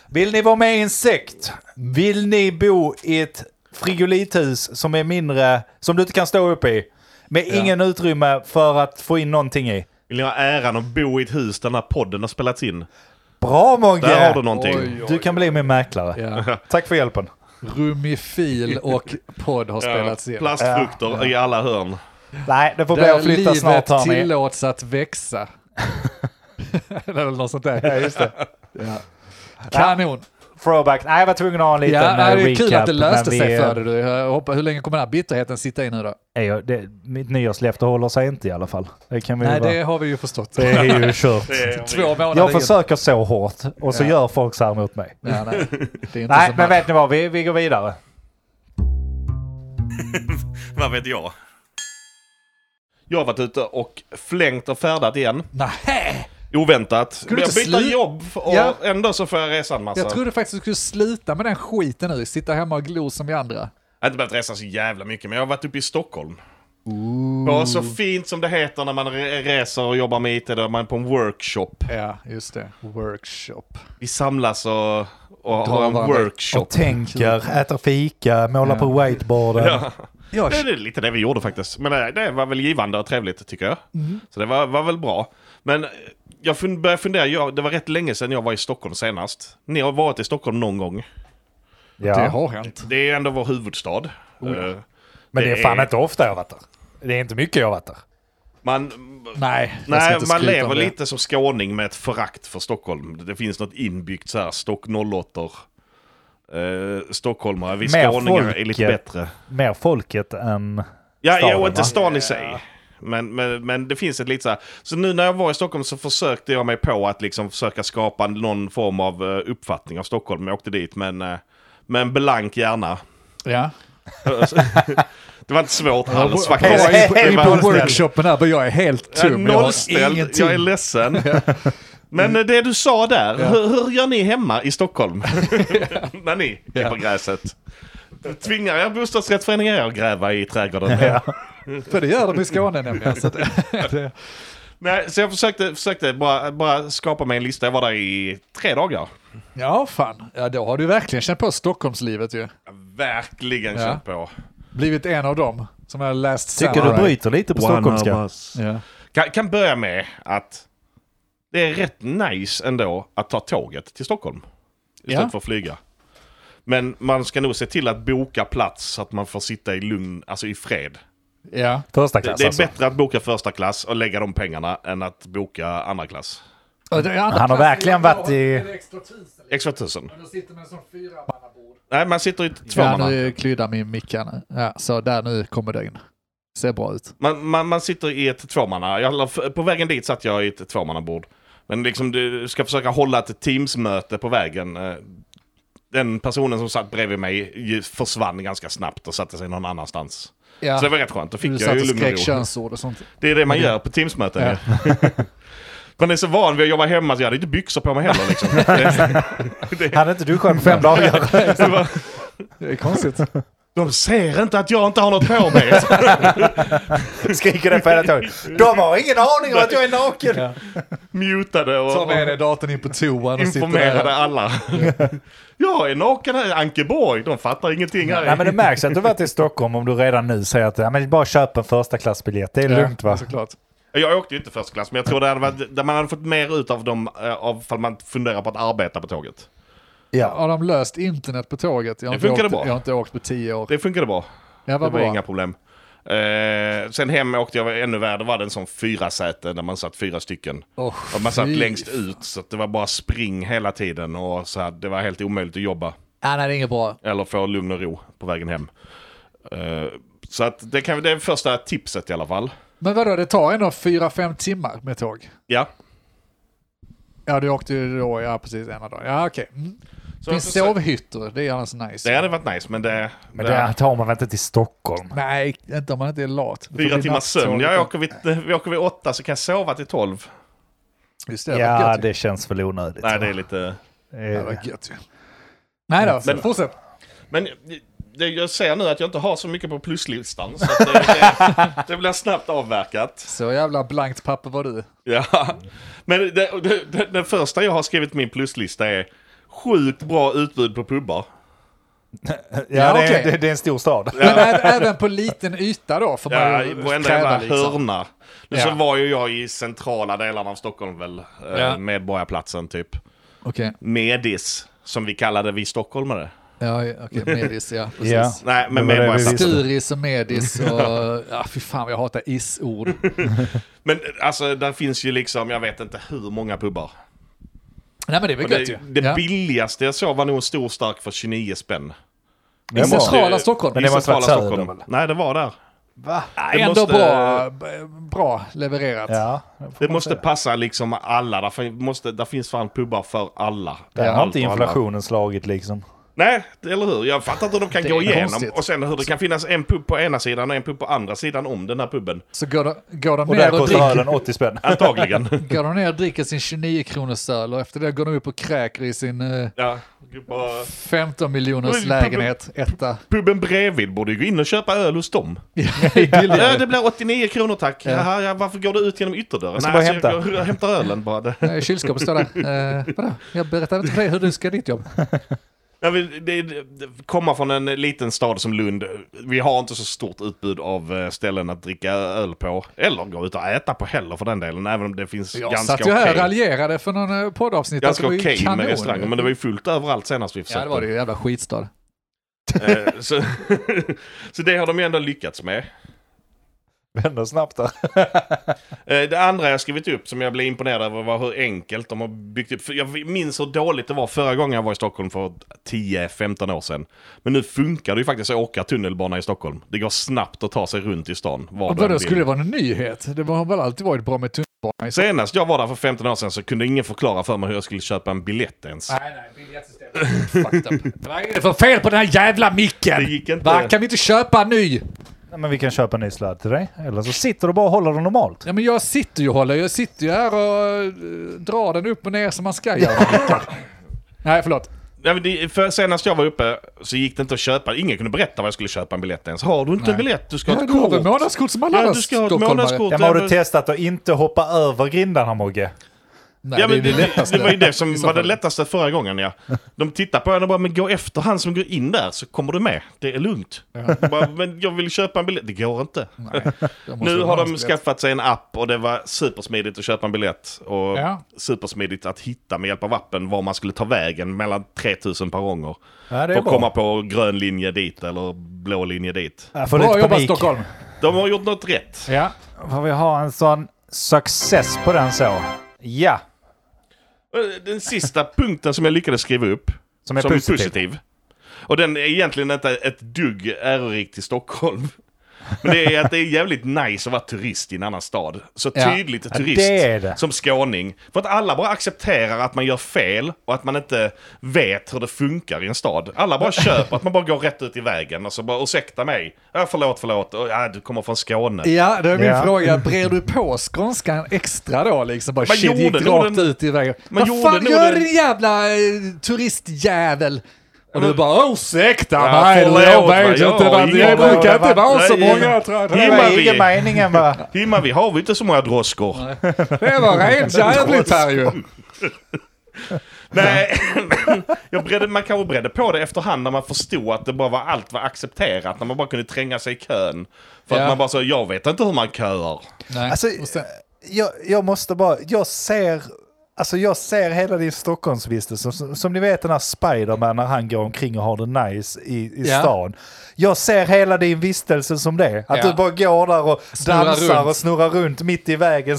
Speaker 3: Vill ni vara med i en sekt? Vill ni bo i ett frigolithus som är mindre, som du inte kan stå upp i? Med ingen utrymme för att få in någonting i.
Speaker 2: Vill ni ha äran att bo i ett hus där den här podden har spelats in?
Speaker 3: Bra Mogge!
Speaker 2: Där har du någonting.
Speaker 1: Oj,
Speaker 3: Du kan bli min mäklare.
Speaker 1: Ja.
Speaker 3: Tack för hjälpen.
Speaker 1: Rummifil och podd har spelats in.
Speaker 2: Plastfrukter i alla hörn.
Speaker 3: Nej, det får bli
Speaker 1: Där
Speaker 3: att flytta
Speaker 1: livet
Speaker 3: snart hörni.
Speaker 1: tillåts att växa. Eller något sånt där.
Speaker 3: Ja, just det.
Speaker 1: Kanon!
Speaker 3: Throwback. Nej, jag var tvungen att ha en liten
Speaker 1: Ja, nej,
Speaker 3: eh,
Speaker 1: det är
Speaker 3: recap.
Speaker 1: kul att det löste
Speaker 3: men
Speaker 1: sig
Speaker 3: vi,
Speaker 1: för dig. du. Jag hoppas- Hur länge kommer den här bitterheten sitta i nu då?
Speaker 3: eh, är jag- det. Mitt nyårslöfte håller sig inte i alla fall. Det kan vi
Speaker 1: Nej,
Speaker 3: vara.
Speaker 1: det har vi ju förstått.
Speaker 3: det är ju kört.
Speaker 1: Två månader
Speaker 3: Jag
Speaker 1: in.
Speaker 3: försöker så hårt och så
Speaker 1: Ja.
Speaker 3: gör folk så här mot mig.
Speaker 1: Ja, nej. Det är inte
Speaker 3: Nej,
Speaker 1: så
Speaker 3: men
Speaker 1: match.
Speaker 3: vet ni vad? Vi, vi går vidare.
Speaker 4: Vad vet jag?
Speaker 2: Jag har varit ute och flängt och färdat igen.
Speaker 1: Nej,
Speaker 2: Oväntat.
Speaker 1: du
Speaker 2: jag
Speaker 1: inte
Speaker 2: byter
Speaker 1: slu-
Speaker 2: jobb och
Speaker 1: Ja.
Speaker 2: ändå så får jag resa en massa.
Speaker 1: jag trodde faktiskt att du skulle sluta med den skiten nu. Sitta hemma och glo som vi andra.
Speaker 2: Jag har inte behövt resa så jävla mycket, men jag har varit uppe i Stockholm. Och så fint som det heter när man re- reser och jobbar med IT, där man är på en workshop.
Speaker 1: Ja, just det. Workshop.
Speaker 2: Vi samlas och, och har
Speaker 1: Drar
Speaker 2: en
Speaker 1: varandra.
Speaker 2: workshop.
Speaker 3: Och tänker, äter fika, målar på whiteboarden.
Speaker 2: Ja.
Speaker 1: Jag
Speaker 2: Det är lite det vi gjorde faktiskt. Men eh, det var väl givande och trevligt tycker jag.
Speaker 1: Mhm.
Speaker 2: Så det var, var väl bra. Men eh, jag fun- började fundera, jag, det var rätt länge sedan jag var i Stockholm senast. Ni har varit i Stockholm någon gång.
Speaker 1: Mm. Det
Speaker 3: Ja.
Speaker 1: har hänt.
Speaker 2: Det är ju ändå vår huvudstad.
Speaker 1: Oh
Speaker 2: Eh,
Speaker 3: Men det är fan
Speaker 2: är-
Speaker 3: inte ofta jag har varit där. Det är inte mycket jag har varit där.
Speaker 2: Man,
Speaker 1: Nej, jag ska
Speaker 2: nej,
Speaker 1: inte
Speaker 2: man
Speaker 1: skryta
Speaker 2: lever
Speaker 1: om det.
Speaker 2: lite som skåning med ett förakt för Stockholm. Det finns något inbyggt så här, Stock 08 Uh, stockholmare, vi
Speaker 3: Mer
Speaker 2: skåningar
Speaker 3: folk,
Speaker 2: är lite
Speaker 3: eh,
Speaker 2: bättre.
Speaker 3: Mer folket än...
Speaker 2: Ja,
Speaker 3: staden,
Speaker 2: ja, och
Speaker 3: va?
Speaker 2: inte stan i sig. Men, men, men det finns ett lite så här. Så nu när jag var i Stockholm så försökte jag mig på att liksom försöka skapa någon form av eh, uppfattning av Stockholm. Jag åkte dit med en, eh, med en blank hjärna.
Speaker 1: Ja.
Speaker 2: Det var inte svårt alls
Speaker 1: Jag
Speaker 2: faktiskt.
Speaker 1: är på,
Speaker 2: Det
Speaker 1: är
Speaker 2: var-
Speaker 1: på workshopen här, men jag är helt
Speaker 2: jag är
Speaker 1: tom. Jag har
Speaker 2: nollställd,
Speaker 1: ingenting.
Speaker 2: jag är ledsen. Men eh, det du sa där, hur, hur gör ni hemma i Stockholm? När ni är på gräset. Tvingar er bostadsrättsföreningar att gräva i trädgården?
Speaker 1: För det gör de i Skåne nämligen. Så att, det,
Speaker 2: Nej, så jag försökte, försökte bara, bara skapa mig en lista. Jag var där i tre dagar.
Speaker 1: ja, fan. Ja, då har du verkligen känt på Stockholmslivet ju.
Speaker 2: Jag har Verkligen
Speaker 1: Ja.
Speaker 2: känt på. Blivit
Speaker 1: Blivit en av dem som har läst
Speaker 3: Tycker du bryter lite på stockholmska?
Speaker 1: Ja.
Speaker 2: Kan, kan börja med att det är rätt nice ändå att ta tåget till Stockholm. Istället
Speaker 1: Ja.
Speaker 2: för att flyga. Men man ska nog se till att boka plats så att man får sitta i lugn, alltså i fred.
Speaker 1: ja.
Speaker 3: Första
Speaker 2: Det,
Speaker 3: klass
Speaker 2: det är
Speaker 3: alltså.
Speaker 2: bättre att boka första klass och lägga de pengarna än att boka andra klass.
Speaker 1: Och det är andra
Speaker 3: Han har
Speaker 1: klass.
Speaker 3: verkligen varit i-
Speaker 1: Det är extra tusen,
Speaker 2: Extra tusen.
Speaker 1: men jag sitter med en sån fyramannabord.
Speaker 2: Nej, man sitter i två
Speaker 1: Ja,
Speaker 2: man.
Speaker 1: nu kryddar min mick här nu. Ja, så där nu kommer det in. Ser bra ut.
Speaker 2: Man, man, man sitter i ett tvåmanna... jag la- På vägen dit satt jag i ett tvåmannabord. Men liksom du ska försöka hålla ett Teams-möte på vägen. eh, Den personen som satt bredvid mig ju försvann ganska snabbt och satte sig någon annanstans.
Speaker 1: Ja.
Speaker 2: Så det var rätt skönt. Då
Speaker 1: Du
Speaker 2: fick jag
Speaker 1: satt
Speaker 2: ju
Speaker 1: och
Speaker 2: lugn
Speaker 1: skrek
Speaker 2: och ro.
Speaker 1: könsord och sånt.
Speaker 2: Det är det man gör på Teams-möten. ju. Man är så van vid att jobba hemma så jag hade inte byxor på mig heller. Liksom. Det-
Speaker 3: Hade inte du skön fem dagar?
Speaker 2: det var-
Speaker 1: Det är konstigt.
Speaker 2: De ser inte att jag inte har något på mig.
Speaker 3: Skriker den på hela tåget. De har ingen aning om att jag är naken!
Speaker 2: Mutade och,
Speaker 1: Ta med
Speaker 2: och
Speaker 1: dig datorn in på toan och sitter
Speaker 2: informerade
Speaker 1: där.
Speaker 2: alla. Jag är naken här i Ankeborg. De fattar ingenting här.
Speaker 3: Nej men det märks att du varit i Stockholm om du redan nu säger att ja, men bara köp en första klassbiljett. Det är lugnt va?
Speaker 1: Såklart.
Speaker 2: Jag åkte ju inte första klass, men jag tror det hade varit, där man hade fått mer ut av dem eh, av fall man funderar på att arbeta på tåget.
Speaker 3: Ja.
Speaker 1: Har de löst internet på tåget? Jag har
Speaker 2: Det
Speaker 1: inte
Speaker 2: funkade
Speaker 1: åkt,
Speaker 2: bra.
Speaker 1: Jag har inte åkt på tio år.
Speaker 2: Det funkade bra.
Speaker 1: Ja,
Speaker 2: Det
Speaker 1: vad
Speaker 2: var
Speaker 1: bra.
Speaker 2: inga problem. Eh, sen hem åkte jag ännu värre. Det var det en sån fyra säte där man satt fyra stycken.
Speaker 1: Åh,
Speaker 2: Och man satt
Speaker 1: fy.
Speaker 2: längst ut så att det var bara spring hela tiden och så här, det var helt omöjligt att jobba.
Speaker 1: Ja, nej, det är inget bra.
Speaker 2: Eller få lugn och ro på vägen hem. Eh, så att det, kan, det är första tipset i alla fall.
Speaker 1: Men vadå, det tar ändå fyra, fem timmar med tåg?
Speaker 2: Ja.
Speaker 1: Ja, du åkte ju då, ja precis, ena dagen. Ja, okej. Mm.
Speaker 2: Så
Speaker 1: Finns
Speaker 2: jag försöker-
Speaker 1: sovhytter, det är annars nice.
Speaker 2: det hade varit nice men det...
Speaker 3: Men
Speaker 2: det-
Speaker 3: det tar man väl inte till Stockholm?
Speaker 1: Nej, inte om man inte är lat. Det får
Speaker 2: Fyra
Speaker 1: bli
Speaker 2: timmars
Speaker 1: nattåg.
Speaker 2: sömn. Jag åker vid, vi åker vid åtta så kan jag sova till tolv.
Speaker 1: Just det, ja,
Speaker 3: Ja,
Speaker 1: gött, det...
Speaker 3: det känns väl onödigt.
Speaker 2: Nej, det är lite...
Speaker 1: det
Speaker 3: Eh,
Speaker 1: var gött ju. Nej då,
Speaker 2: Men-
Speaker 1: fortsätt.
Speaker 2: Men det, jag ser nu att jag inte har så mycket på pluslistan. Så att det, det, det blir snabbt avverkat.
Speaker 1: Så jävla blankt papper var du.
Speaker 2: Ja. Men det, det, det, den första jag har skrivit på min pluslista är sjukt bra utbud på pubbar.
Speaker 3: Ja, det
Speaker 1: okej.
Speaker 3: är, det, det är en stor stad.
Speaker 1: Men ä- även på liten yta då får man
Speaker 2: Ja,
Speaker 1: ju
Speaker 2: i varenda
Speaker 1: kräva
Speaker 2: jävla
Speaker 1: liksom.
Speaker 2: hörna. Nu
Speaker 1: Ja.
Speaker 2: så var ju jag i centrala delarna av Stockholm väl. eh,
Speaker 1: Ja.
Speaker 2: Medborgarplatsen typ.
Speaker 1: Okej,
Speaker 2: Medis, som vi kallade vi stockholmare.
Speaker 1: ja, ja, okej, medis ja, precis.
Speaker 3: Ja.
Speaker 2: Nej, men
Speaker 3: Det var det vi
Speaker 2: medborgarplatsen.
Speaker 3: visste.
Speaker 1: Sturis och medis och... Ja, fy fan vad jag hatar is-ord.
Speaker 2: Men alltså, där finns ju liksom, jag vet inte hur många pubbar.
Speaker 1: Nej men det är väl
Speaker 2: Och
Speaker 1: gött
Speaker 2: det
Speaker 1: ju.
Speaker 2: det
Speaker 1: ja.
Speaker 2: billigaste jag såg var nog en stor stark för 29 spänn.
Speaker 1: I
Speaker 3: måste-
Speaker 1: centrala Stockholm.
Speaker 3: Men det
Speaker 2: I
Speaker 3: var
Speaker 2: centrala
Speaker 3: Svartsöder,
Speaker 2: Stockholm.
Speaker 3: väl?
Speaker 2: Nej, det var där.
Speaker 3: Va?
Speaker 2: det
Speaker 1: Ändå
Speaker 2: måste-
Speaker 1: bra, b- bra levererat.
Speaker 3: Ja,
Speaker 2: Det måste passa liksom alla. Där, fin- måste, där finns fan pubbar för alla.
Speaker 3: Där har
Speaker 2: Allt
Speaker 3: inte
Speaker 2: och alla.
Speaker 3: inflationen slagit liksom.
Speaker 2: Nej, eller hur? Jag fattar inte hur de kan
Speaker 1: Det
Speaker 2: gå
Speaker 1: är
Speaker 2: igenom.
Speaker 1: konstigt.
Speaker 2: Och sen hur det kan finnas en pub på ena sidan och en pub på andra sidan om den här puben.
Speaker 1: Så går de, går, de
Speaker 3: Och där
Speaker 1: ner och
Speaker 3: kostar
Speaker 1: dricker,
Speaker 3: ölen 80 spänn.
Speaker 2: Antagligen.
Speaker 1: går de ner och dricker sin 29 kronors öl och efter det går de upp och kräker i sin eh,
Speaker 2: ja, bara...
Speaker 1: 15 miljoners
Speaker 2: Oj,
Speaker 1: lägenhet, etta.
Speaker 2: Puben bredvid borde ju gå in och köpa öl hos dem. Ja,
Speaker 1: Billigare.
Speaker 2: det blir 89 kronor tack. Jaha, ja, varför går du ut genom ytterdörren?
Speaker 3: ska bara
Speaker 2: alltså,
Speaker 3: hämta.
Speaker 2: Jag, jag hämtar ölen bara. Det-
Speaker 1: Eh, Kylskåpet står där. Eh, vadå? Jag berättade inte för dig hur du ska ditt jobb.
Speaker 2: Jag vill, det, det, komma från en liten stad som Lund, vi har inte så stort utbud av eh, ställen att dricka öl på. Eller gå ut och äta på heller för den delen, även om det finns
Speaker 1: Jag
Speaker 2: ganska
Speaker 1: satt ju här och
Speaker 2: okej
Speaker 1: raljerade för någon eh, poddavsnitt. att
Speaker 2: ganska
Speaker 1: det var ju
Speaker 2: okej
Speaker 1: kanon.
Speaker 2: med restauranger. Men det var ju fullt överallt senast vi försökte.
Speaker 1: Ja, det var det ju. Jävla skitstad.
Speaker 2: Eh, så, så det har de ju ändå lyckats med.
Speaker 3: Vänder snabbt där.
Speaker 2: Eh, Det andra jag skrivit upp som jag blev imponerad över var hur enkelt de har byggt upp. För jag minns hur dåligt det var förra gången jag var i Stockholm för 10-15 år sedan. Men nu funkar det ju faktiskt att åka tunnelbana i Stockholm. Det går snabbt att ta sig runt i stan. Var
Speaker 1: Och
Speaker 2: du än
Speaker 1: vadå,
Speaker 2: vill.
Speaker 1: skulle det vara en nyhet? Det har väl alltid varit bra med tunnelbana? i Sverige?
Speaker 2: Senast jag var där för 15 år sedan så kunde ingen förklara för mig hur jag skulle köpa en biljett ens.
Speaker 1: Nej, nej, biljettsystemet är fucked up. Vad är det för fel på den här jävla micken?
Speaker 2: Det gick inte.
Speaker 1: Va, kan vi inte köpa en ny?
Speaker 3: Nej, men vi kan köpa en ny sladd till dig. Eller så sitter du bara och håller den normalt.
Speaker 1: Ja, men jag sitter ju och håller, jag sitter ju här och eh, drar den upp och ner som man ska göra. Nej, förlåt.
Speaker 2: Nej, men det, för senast jag var uppe så gick det inte att köpa. Ingen kunde berätta vad jag skulle köpa en biljett ens. Har du inte en biljett? Du ska ha
Speaker 1: Ja,
Speaker 2: ett
Speaker 1: du har väl
Speaker 2: kort.
Speaker 1: månadskort som alla
Speaker 2: Ja,
Speaker 1: andra
Speaker 2: du ska ha ett
Speaker 1: stockholmare?
Speaker 2: månadskort.
Speaker 3: Ja, men har du testat att inte hoppa över grindarna Mogge?
Speaker 1: Nej,
Speaker 2: Ja, men det,
Speaker 1: är
Speaker 2: det,
Speaker 1: lättaste.
Speaker 2: det var ju det som
Speaker 1: I så
Speaker 2: var det
Speaker 1: fall.
Speaker 2: lättaste förra gången ja. De tittar på en och bara, men gå efter han som går in där så kommer du med. Det är lugnt. Bara, men jag vill köpa en biljett. Det går inte.
Speaker 1: Jag måste
Speaker 2: Nu
Speaker 1: ha
Speaker 2: har de
Speaker 1: månadsbiljett.
Speaker 2: skaffat sig en app och det var supersmidigt att köpa en biljett. Och
Speaker 1: Ja.
Speaker 2: supersmidigt att hitta med hjälp av appen var man skulle ta vägen mellan 3000 perronger.
Speaker 3: Ja, det
Speaker 2: För att komma på grön linje dit eller blå linje dit.
Speaker 3: Jag får
Speaker 1: Bra
Speaker 3: lite
Speaker 1: jobbat
Speaker 3: panik.
Speaker 1: Stockholm!
Speaker 2: De har gjort något rätt.
Speaker 1: Ja.
Speaker 3: Får vi ha en sån success på den så? Ja.
Speaker 2: Och Den sista punkten som jag lyckades skriva upp
Speaker 3: Som är positiv.
Speaker 2: Och den är egentligen inte ett dugg ärorikt till Stockholm. Men det är att det är jävligt nice att vara turist i en annan stad. Så
Speaker 1: Ja.
Speaker 2: tydligt
Speaker 3: Ja,
Speaker 2: turist
Speaker 3: det är det.
Speaker 2: som skåning. För att alla bara accepterar att man gör fel och att man inte vet hur det funkar i en stad. Alla bara köper att man bara går rätt ut i vägen och så bara ursäkta mig. Ja, förlåt, förlåt. Och, Ja, du kommer från Skåne.
Speaker 1: Ja, det är min
Speaker 3: Ja.
Speaker 1: fråga. Brer du på skånskan extra då liksom? Bara,
Speaker 2: Man
Speaker 1: shit, gick
Speaker 2: gjorde nog
Speaker 1: rakt
Speaker 2: den-
Speaker 1: ut i vägen.
Speaker 2: man
Speaker 1: Vad
Speaker 2: gjorde
Speaker 1: fan
Speaker 2: nog
Speaker 1: gör
Speaker 2: den-
Speaker 1: din jävla eh, turistjävel? Och du bara ursäkta
Speaker 2: Ja,
Speaker 1: mig,
Speaker 2: förlåt
Speaker 1: jag
Speaker 2: mig,
Speaker 1: vet
Speaker 2: jag
Speaker 1: inte,
Speaker 2: har
Speaker 1: vad-
Speaker 2: ingen
Speaker 1: jag brukar inte vara så
Speaker 2: Nej,
Speaker 1: många träd.
Speaker 3: Det
Speaker 2: Himma
Speaker 3: var
Speaker 2: vi.
Speaker 3: ingen meningen va?
Speaker 2: Himma, vi har vi inte så många droskor.
Speaker 1: Det var rent jävligt här ju.
Speaker 2: Nej, jag bredde, man kanske bredde på det efterhand när man förstod att det bara var allt var accepterat. När man bara kunde tränga sig i kön. För
Speaker 1: Ja.
Speaker 2: att man bara sa, jag vet inte hur man köar.
Speaker 1: Nej.
Speaker 3: Alltså,
Speaker 1: och sen,
Speaker 3: jag, jag måste bara, jag ser, alltså jag ser hela din Stockholmsvistelse, som, som ni vet den här Spiderman när han går omkring och har det nice i, i
Speaker 1: Ja.
Speaker 3: stan. Jag ser hela din vistelse som det, att
Speaker 1: Ja.
Speaker 3: du bara går där och
Speaker 1: Snurrar
Speaker 3: dansar
Speaker 1: runt.
Speaker 3: och snurrar runt mitt i vägen,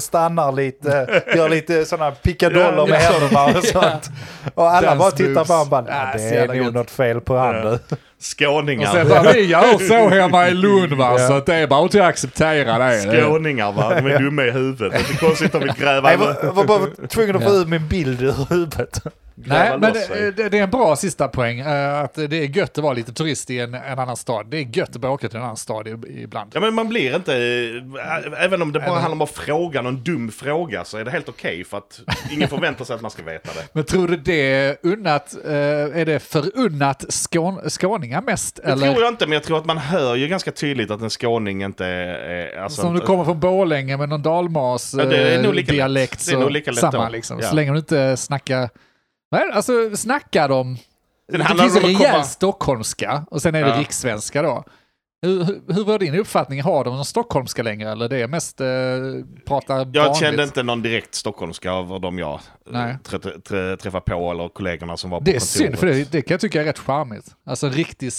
Speaker 3: stannar lite, gör lite sådana pickadoller med
Speaker 1: Ja.
Speaker 3: händerna och sånt. Och alla
Speaker 1: Dance
Speaker 3: bara tittar
Speaker 1: moves.
Speaker 3: på honom och bara,
Speaker 1: Ah,
Speaker 3: "Nej,
Speaker 1: så
Speaker 3: det
Speaker 1: jävla
Speaker 3: är nog
Speaker 1: gött."
Speaker 3: något fel på han nu.
Speaker 1: och
Speaker 2: Skåningar.
Speaker 1: sen bara, vi gör så hemma i Lund va, så att det är bara inte att acceptera det.
Speaker 2: Skåningar va, de är dumma i huvudet. Det är konstigt om vi gräver
Speaker 3: Nej, Jag var, jag var bara tvungen att få
Speaker 1: Ja.
Speaker 3: ut min bild ur huvudet.
Speaker 1: Nej, men
Speaker 2: loss sig.
Speaker 1: det, det, det är en bra sista poäng. eh, Att det är gött att vara lite turist i en, en annan stad. Det är gött att bara åka till en annan stad i- ibland.
Speaker 2: Ja men man blir inte, eh, även om det bara handlar om att fråga någon dum fråga så är det helt okej för att ingen förväntar sig att man ska veta det.
Speaker 1: Men tror du det är unnat, eh, är det förunnat skån, skåningar mest?
Speaker 2: Det
Speaker 1: eller?
Speaker 2: tror jag inte, men jag tror att man hör ju ganska tydligt att en skåning inte är... är- Alltså,
Speaker 1: Som du kommer från Borlänge med någon dalmas
Speaker 2: Ja, det är nog
Speaker 1: eh,
Speaker 2: lika lätt.
Speaker 1: dialekt
Speaker 2: Det är
Speaker 1: så
Speaker 2: nog lika lätt
Speaker 1: samma
Speaker 2: då.
Speaker 1: liksom.
Speaker 2: Ja.
Speaker 1: Så länge du inte snackar, nej, alltså snackar de, det,
Speaker 2: handlar
Speaker 1: finns
Speaker 2: om
Speaker 1: en
Speaker 2: att
Speaker 1: rejäl
Speaker 2: komma-
Speaker 1: stockholmska och sen är det
Speaker 2: Ja.
Speaker 1: rikssvenska då. Hur, hur, hur var din uppfattning, har de någon stockholmska längre eller det är mest eh, prata vanligt?
Speaker 2: Jag kände inte någon direkt stockholmska av de jag eh,
Speaker 1: Nej.
Speaker 2: trä- trä- träffade på eller kollegorna som var på
Speaker 1: Det är
Speaker 2: kontoret.
Speaker 1: synd, för det, det kan jag tycka är rätt charmigt. Alltså en riktig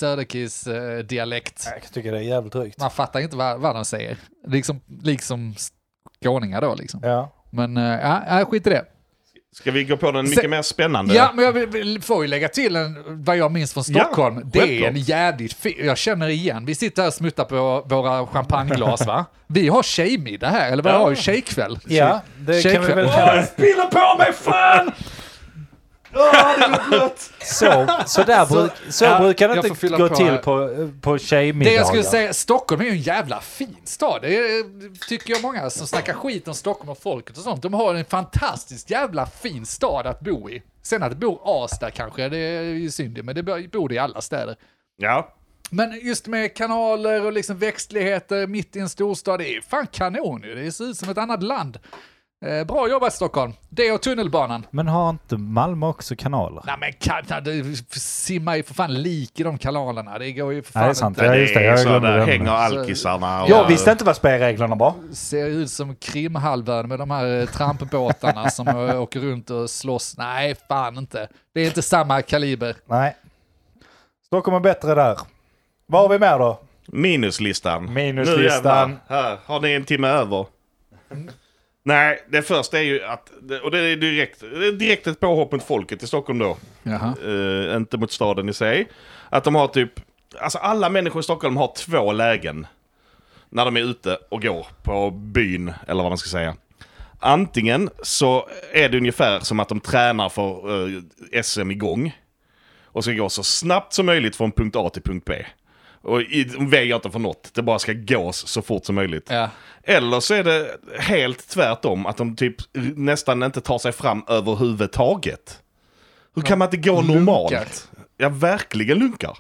Speaker 1: eh, Söderkis-dialekt.
Speaker 3: Jag tycker det är jävligt drygt.
Speaker 1: Man fattar inte vad, vad de säger. Liksom, liksom skåningar då liksom.
Speaker 3: Ja.
Speaker 1: Men eh, ja, ja, skit i det.
Speaker 2: Ska vi gå på den
Speaker 1: Se-
Speaker 2: mycket mer spännande?
Speaker 1: Ja, men jag vill- vill, får ju lägga till en, vad jag minns från
Speaker 2: Ja,
Speaker 1: Stockholm. det är en
Speaker 2: självklart.
Speaker 1: jävligt fin, jag känner igen, vi sitter här och smuttar på våra champagneglas va? Vi har tjejmiddag här, eller vi
Speaker 2: Ja.
Speaker 1: har ju tjejkväll.
Speaker 3: Ja, det
Speaker 1: Shake
Speaker 3: kan vi väl
Speaker 1: it.
Speaker 3: kalla
Speaker 2: Spiller på mig fan!
Speaker 3: så. Så, där bruk, så
Speaker 1: Ja,
Speaker 3: brukar det
Speaker 1: jag får
Speaker 3: inte
Speaker 1: fylla
Speaker 3: gå
Speaker 1: på här.
Speaker 3: till på, på
Speaker 1: Det
Speaker 3: tjejmiddagar.
Speaker 1: jag skulle säga, Stockholm är ju en jävla fin stad. Det är, tycker jag många som snackar skit om Stockholm och folket och sånt. De har en fantastiskt jävla fin stad att bo i. Sen att bo Asta kanske, det är ju synd men det bör- bor det i alla städer.
Speaker 2: Ja,
Speaker 1: Men just med kanaler och liksom växtligheter mitt i en storstad, det är ju fan kanon ju. Det ser ut som ett annat land. Eh, bra jobbat Stockholm. Det och tunnelbanan.
Speaker 3: Men har inte Malmö också kanaler?
Speaker 1: Nej men kan, kan- det simmar ju för fan lik i de kanalerna. Det går ju för fan
Speaker 3: Nej, det är sant.
Speaker 1: inte.
Speaker 3: Ja, just det. Jag
Speaker 2: så
Speaker 3: glömde
Speaker 2: där
Speaker 3: den.
Speaker 2: hänger alkisarna. och-
Speaker 3: Jag visste inte vad spelreglerna var.
Speaker 1: Ser ut som Krimhalvön med de här eh, trampbåtarna som eh, åker runt och slåss. Nej, fan inte. Det är inte samma kaliber.
Speaker 3: Nej. Stockholm är bättre där. Vad har vi mer då?
Speaker 2: Minuslistan.
Speaker 3: Minuslistan.
Speaker 2: Nu jävlar. Här, har ni en timme över? Nej, det första är ju att, och det är direkt, det är direkt ett påhopp mot folket i Stockholm då.
Speaker 1: Jaha.
Speaker 2: eh, inte mot staden i sig. Att de har typ, alltså alla människor i Stockholm har två lägen. När de är ute och går på byn, eller vad man ska säga. Antingen så är det ungefär som att de tränar för eh, SM igång. Och ska gå så snabbt som möjligt från punkt A till punkt B. Och i, de väjer inte för något, det bara ska gås så fort som möjligt.
Speaker 1: Ja.
Speaker 2: Eller så är det helt tvärtom, att de typ nästan inte tar sig fram överhuvudtaget. Hur kan man inte gå
Speaker 1: Lunkar.
Speaker 2: normalt? Ja, verkligen lunkar.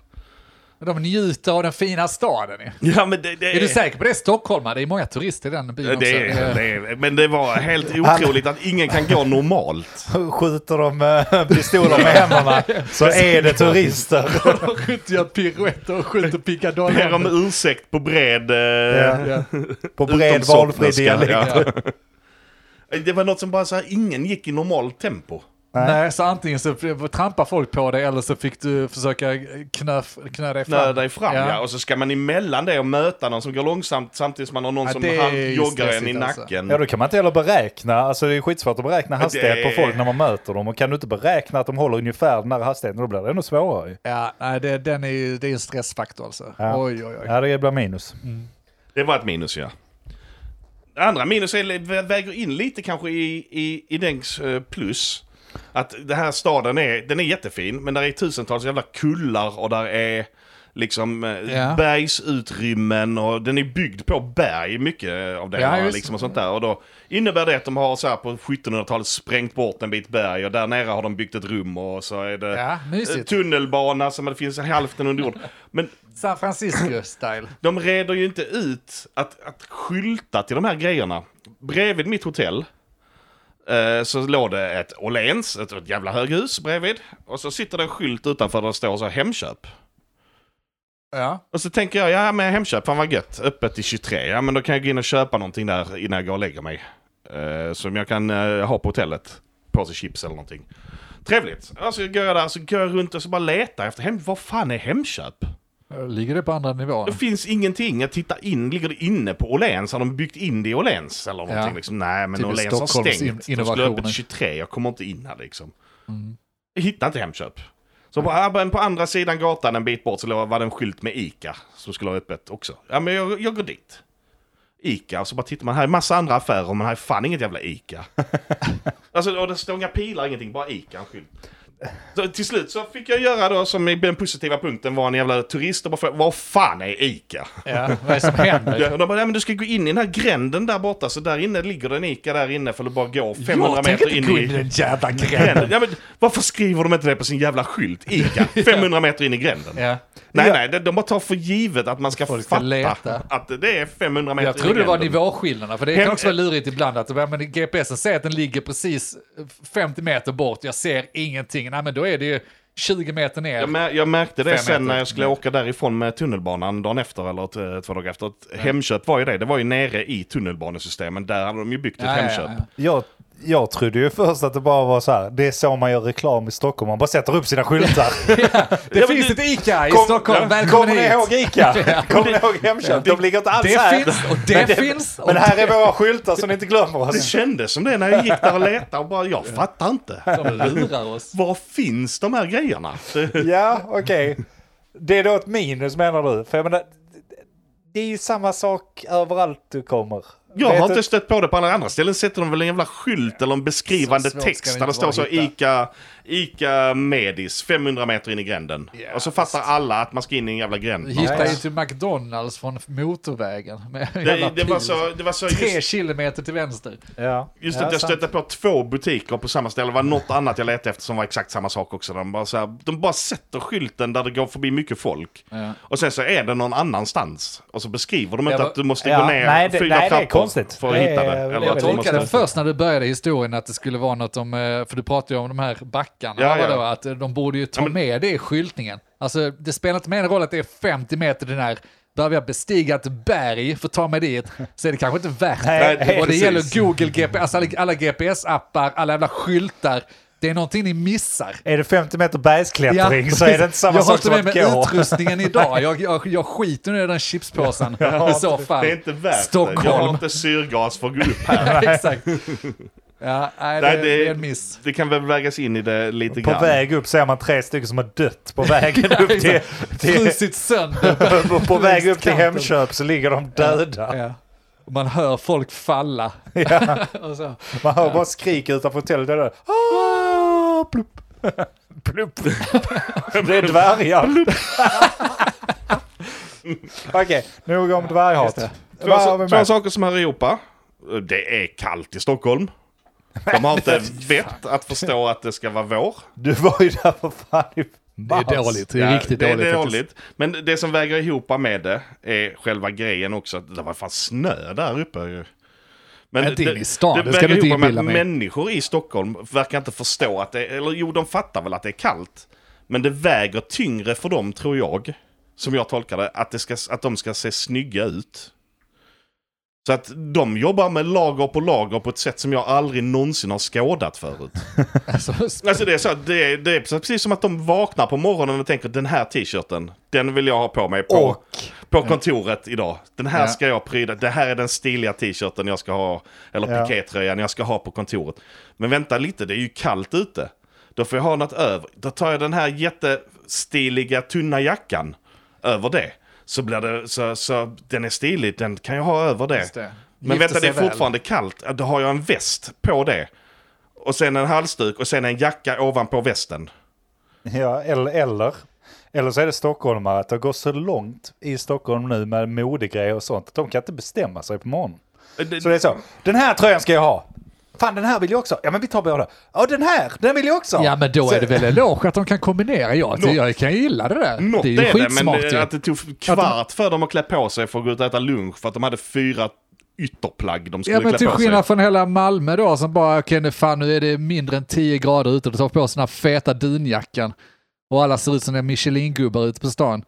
Speaker 1: De njuter av den fina staden. ju.
Speaker 2: Ja, men det, det
Speaker 1: Är du säker på det? Stockholmare, det är många turister i den byn
Speaker 2: Det,
Speaker 1: också.
Speaker 2: är- det, är- men det var helt otroligt att ingen kan gå normalt.
Speaker 3: Skjuter de eh, pistoler med händerna så är det turister.
Speaker 1: De skjuter ju piruetter och skjuter
Speaker 2: Ber om
Speaker 1: pickadoller.
Speaker 2: ursäkt på bred... eh,
Speaker 1: Ja.
Speaker 3: På bred
Speaker 2: utomsoppnerska.
Speaker 3: valfri dialekt.
Speaker 2: Ja. Det var något som bara så här, ingen gick i normalt tempo.
Speaker 1: Nej, så antingen så trampar folk på dig eller så fick du försöka knö, knö dig
Speaker 2: Knö
Speaker 1: fram.
Speaker 2: dig fram ja.
Speaker 1: Ja.
Speaker 2: och så ska man emellan det och möta någon som går långsamt samtidigt som man har någon
Speaker 1: Ja,
Speaker 2: som
Speaker 1: det är
Speaker 2: hand-
Speaker 1: ju
Speaker 2: joggar en i
Speaker 1: stressigt, alltså.
Speaker 2: nacken.
Speaker 3: Ja, då kan man inte heller beräkna. Alltså det är skitsvårt att beräkna hastighet
Speaker 2: Det-
Speaker 3: på folk när man möter dem. Och kan du inte beräkna att de håller ungefär den här hastigheten, då blir det ännu svårare ju.
Speaker 1: Ja, nej, det, den är, ju- det är en stressfaktor alltså.
Speaker 3: Ja.
Speaker 1: Oj, oj, oj.
Speaker 3: Ja, det blir minus.
Speaker 2: Det var ett minus ja. Det andra minus är, vä- väger in lite kanske i, i, i Dengs eh, plus. Att den här staden är, den är jättefin, men där är tusentals jävla kullar och där är liksom eh,
Speaker 1: Ja.
Speaker 2: bergsutrymmen och den är byggd på berg, mycket av det.
Speaker 1: Ja,
Speaker 2: här,
Speaker 1: just
Speaker 2: liksom, och sånt där. Och då innebär det att de har så här på 1700-talet sprängt bort en bit berg och där nere har de byggt ett rum och så är det
Speaker 1: Ja, mysigt.
Speaker 2: eh, tunnelbana som det finns hälften under jord. Men
Speaker 1: San Francisco-style.
Speaker 2: de reder ju inte ut att, att skylta till de här grejerna. Bredvid mitt hotell eh, så låg det ett Åhléns, ett, ett jävla höghus bredvid. Och så sitter det en skylt utanför där det står så här, Hemköp.
Speaker 1: Ja.
Speaker 2: Och så tänker jag, ja men Hemköp, fan vad gött, öppet till 23. Ja men då kan jag gå in och köpa någonting där innan jag går och lägger mig. Eh, som jag kan eh, ha på hotellet. Påse chips eller någonting. Trevligt. Och så går jag där, så går jag runt och så bara letar efter hem. Vad fan är Hemköp?
Speaker 1: Ligger det på andra nivån?
Speaker 2: Det finns ingenting. Jag tittar in, ligger det inne på Åhléns? Har de byggt in det i Åhléns eller någonting?
Speaker 1: Ja.
Speaker 2: Liksom? Nej, men
Speaker 1: Typiskt
Speaker 2: Åhléns har
Speaker 1: Typ Stockholms
Speaker 2: stängt.
Speaker 1: in-
Speaker 2: De skulle ha öppet
Speaker 1: innovationer. Mm.
Speaker 2: 23, jag kommer inte in här liksom. Jag hittar inte Hemköp. Så bara, ja, men på andra sidan gatan en bit bort så låg- var det en skylt med Ica som skulle ha öppet också. Ja, men jag, jag går dit. Ica, och så bara tittar man, här är massa andra affärer, men här är fan inget jävla Ica. alltså, och det står inga pilar, ingenting, bara Ica, en skylt. Så till slut så fick jag göra då som i den positiva punkten var en jävla turist och bara frågade, vad fan är Ica?
Speaker 1: Ja, vad är det som händer?
Speaker 2: Ja, och de bara, nej men du ska gå in i den här gränden där borta, så där inne ligger den Ica där inne, för du bara gå 500
Speaker 1: jag
Speaker 2: meter
Speaker 1: tänker
Speaker 2: in
Speaker 1: inte gå in i
Speaker 2: i
Speaker 1: den jävla
Speaker 2: gränden.
Speaker 1: gränden.
Speaker 2: Ja, men, varför skriver de inte det på sin jävla skylt? Ica, 500 meter in i gränden.
Speaker 1: Ja.
Speaker 2: Nej,
Speaker 3: Ja.
Speaker 2: nej, de, de bara tar för givet att man ska
Speaker 1: Folk ska
Speaker 2: fatta
Speaker 1: leta.
Speaker 2: att det är 500 meter
Speaker 1: Jag trodde det
Speaker 2: in i
Speaker 1: var
Speaker 2: gränden.
Speaker 1: nivåskillnaderna, för det
Speaker 2: Hem-
Speaker 1: kan också vara lurigt ibland att ja, men GPSen säger att den ligger precis 50 meter bort, jag ser ingenting. Nej, men då är det ju 20 meter ner.
Speaker 2: Jag, mär, jag märkte det
Speaker 1: Fem
Speaker 2: sen
Speaker 1: meter.
Speaker 2: när jag skulle åka därifrån med tunnelbanan dagen efter eller t- två dagar efter. Att Hemköp var ju det, det var ju nere i tunnelbanesystemen. Där hade de ju byggt ett
Speaker 1: Ja, ja,
Speaker 2: Hemköp.
Speaker 1: ja, ja.
Speaker 3: Jag, jag trodde ju först att det bara var så här, det är så man gör reklam i Stockholm, man bara sätter upp sina skyltar.
Speaker 1: Det
Speaker 2: Ja, men
Speaker 1: finns
Speaker 2: det-
Speaker 1: ett ICA i
Speaker 3: Kom-
Speaker 1: Stockholm, välkommen
Speaker 3: Kommer ni
Speaker 1: hit!
Speaker 3: ihåg Ica? Kommer ni ihåg Hemköp? De ligger inte alls
Speaker 1: Det
Speaker 3: här.
Speaker 1: finns, och det
Speaker 3: Men
Speaker 1: finns, och
Speaker 3: Men här är våra skyltar så ni inte glömmer
Speaker 2: Det
Speaker 3: oss.
Speaker 2: kändes som det när jag gick där och letade och bara, jag fattar inte.
Speaker 1: De lurar oss.
Speaker 2: Var finns de här grejerna?
Speaker 3: Ja, okej. Det är då ett minus menar du? För jag menar, det är ju samma sak överallt du kommer.
Speaker 2: Jag
Speaker 3: Vet
Speaker 2: har
Speaker 3: du-
Speaker 2: inte stött på det på alla andra ställen. Sätter de väl en jävla skylt eller en beskrivande
Speaker 1: Så svårt ska
Speaker 2: text
Speaker 1: det
Speaker 2: där det
Speaker 1: inte
Speaker 2: står
Speaker 1: vara
Speaker 2: så
Speaker 1: att hitta.
Speaker 2: Ica, Ica Medis 500 meter in i gränden.
Speaker 1: Ja,
Speaker 2: och så fattar alla att man ska in i en jävla gränd.
Speaker 1: Hittar ju till McDonalds från motorvägen. Med en jävla
Speaker 2: Det, det, var
Speaker 1: pil.
Speaker 2: så, det var så
Speaker 1: Tre
Speaker 2: just,
Speaker 1: kilometer till vänster.
Speaker 3: Ja.
Speaker 2: just
Speaker 3: ja,
Speaker 2: att jag
Speaker 3: sant.
Speaker 2: stötte på två butiker på samma ställe. Det var något annat jag letade efter som var exakt samma sak också. De bara, så här, de bara sätter skylten där det går förbi mycket folk.
Speaker 1: Ja.
Speaker 2: Och sen så är det någon annanstans. Och så beskriver de
Speaker 1: Ja,
Speaker 2: inte
Speaker 1: va-
Speaker 2: att du måste
Speaker 3: ja,
Speaker 2: gå ner
Speaker 3: nej, det-
Speaker 2: fyra
Speaker 3: nej, det är
Speaker 2: trappor
Speaker 3: konstigt.
Speaker 2: för att
Speaker 3: Det är-
Speaker 2: hitta det.
Speaker 3: det är
Speaker 2: Eller
Speaker 3: väl
Speaker 2: att
Speaker 1: Jag
Speaker 2: du
Speaker 1: tolkade
Speaker 2: måste...
Speaker 1: först när du började historien att det skulle vara något om, eh, för du pratade ju om de här backarna,
Speaker 2: Ja, ja.
Speaker 1: vadå, att eh, de borde ju ta
Speaker 2: Ja, men-
Speaker 1: med det i skyltningen. Alltså det spelar inte mer någon roll att det är 50 meter till den här, behöver jag bestiga ett berg för att ta mig dit, så är det kanske inte värt det.
Speaker 3: Nej,
Speaker 1: och det
Speaker 2: precis.
Speaker 1: gäller Google GPS, alltså alla, alla GPS-appar, alla jävla skyltar, det är någonting ni missar.
Speaker 3: Är det 50 meter bergsklättring så är det inte samma
Speaker 1: jag har
Speaker 3: sak
Speaker 1: inte
Speaker 3: som
Speaker 1: med
Speaker 3: att
Speaker 1: mig
Speaker 3: gå.
Speaker 1: utrustningen idag. Jag, jag, jag skiter nu i den chipspåsen i så fall.
Speaker 2: Det är inte värt det. Jag har
Speaker 1: Stockholm.
Speaker 2: inte syrgas för att gå upp här.
Speaker 1: Exakt. Ja, nej, det,
Speaker 2: Nej, det-
Speaker 1: det är en miss.
Speaker 2: Det kan väl vägas in i det lite
Speaker 3: På
Speaker 2: grann.
Speaker 3: väg upp ser man tre stycken som har dött på vägen upp till... till
Speaker 1: frusit sönder.
Speaker 3: på, på väg upp till
Speaker 1: Kanten.
Speaker 3: Hemköp så ligger de döda.
Speaker 1: Ja. Och Man hör folk falla.
Speaker 3: Ja.
Speaker 1: Och så.
Speaker 3: Man hör bara skrik utanför hotellet. där, där. Ah, plupp. plupp. Det är dvärgar. Okej, nog om dvärghat.
Speaker 2: Två,
Speaker 3: Vad har vi
Speaker 2: två
Speaker 3: med?
Speaker 2: saker som hör ihop. Det är kallt i Stockholm. De har inte vett att förstå att det ska vara vår.
Speaker 3: Du var ju där för fan i mars.
Speaker 1: Det
Speaker 2: Ja, Det är dåligt. Men det som väger ihop med det är själva grejen också. att Det var fan snö där uppe ju. Men
Speaker 1: Inte in i stan, det ska
Speaker 2: väger
Speaker 1: du inte
Speaker 2: ihop med
Speaker 1: inbilla
Speaker 2: att
Speaker 1: mig.
Speaker 2: Människor i Stockholm verkar inte förstå att det Eller jo, de fattar väl att det är kallt. Men det väger tyngre för dem, tror jag. Som jag tolkar det, att, det ska, att de ska se snygga ut. Så att de jobbar med lager på lager på ett sätt som jag aldrig någonsin har skådat förut.
Speaker 1: Alltså,
Speaker 2: Alltså det är så att det, är- det är precis som att de vaknar på morgonen och tänker den här t-shirten, den vill jag ha på mig på,
Speaker 3: Och
Speaker 2: på kontoret idag. Den här
Speaker 1: Ja.
Speaker 2: ska jag pryda, det här är den stiliga t-shirten jag ska ha, eller
Speaker 3: Ja.
Speaker 2: pikétröjan jag ska ha på kontoret. Men vänta lite, det är ju kallt ute. Då får jag ha något över, då tar jag den här jättestiliga tunna jackan över det. så blir det, så, så den är stilig, den kan jag ha över det.
Speaker 1: Just det.
Speaker 2: Men
Speaker 1: Gifte
Speaker 2: vänta, det är
Speaker 1: sig väl.
Speaker 2: fortfarande kallt. Ja, Då har jag en väst på det. Och sen en halsduk och sen en jacka ovanpå västen.
Speaker 3: Ja, eller, eller, eller så är det stockholmare att det går så långt i Stockholm nu med modegrejer och sånt att de kan inte bestämma sig på morgonen. Så
Speaker 2: Eh,
Speaker 3: det är så, den här tröjan ska jag ha. Fan den här vill jag också. Ja men vi tar båda. Ja den här, den vill jag också.
Speaker 1: Ja men då
Speaker 3: Så-
Speaker 1: är det väl eloge att de kan kombinera. Ja, det-
Speaker 2: Något-
Speaker 1: jag kan ju gilla det där.
Speaker 2: Något
Speaker 1: det är ju skitsmart
Speaker 2: men eh,
Speaker 1: ju.
Speaker 2: att det tog kvart för dem att klä på sig för att gå ut och äta lunch för att de hade fyra ytterplagg de skulle
Speaker 1: Ja men till
Speaker 2: klä på
Speaker 1: skillnad
Speaker 2: sig.
Speaker 1: från hela Malmö då som bara, okej nu fan nu är det mindre än 10 grader ute och du tar på sig den här feta dunjackan. Och alla ser ut som en Michelin-gubbar ute på stan.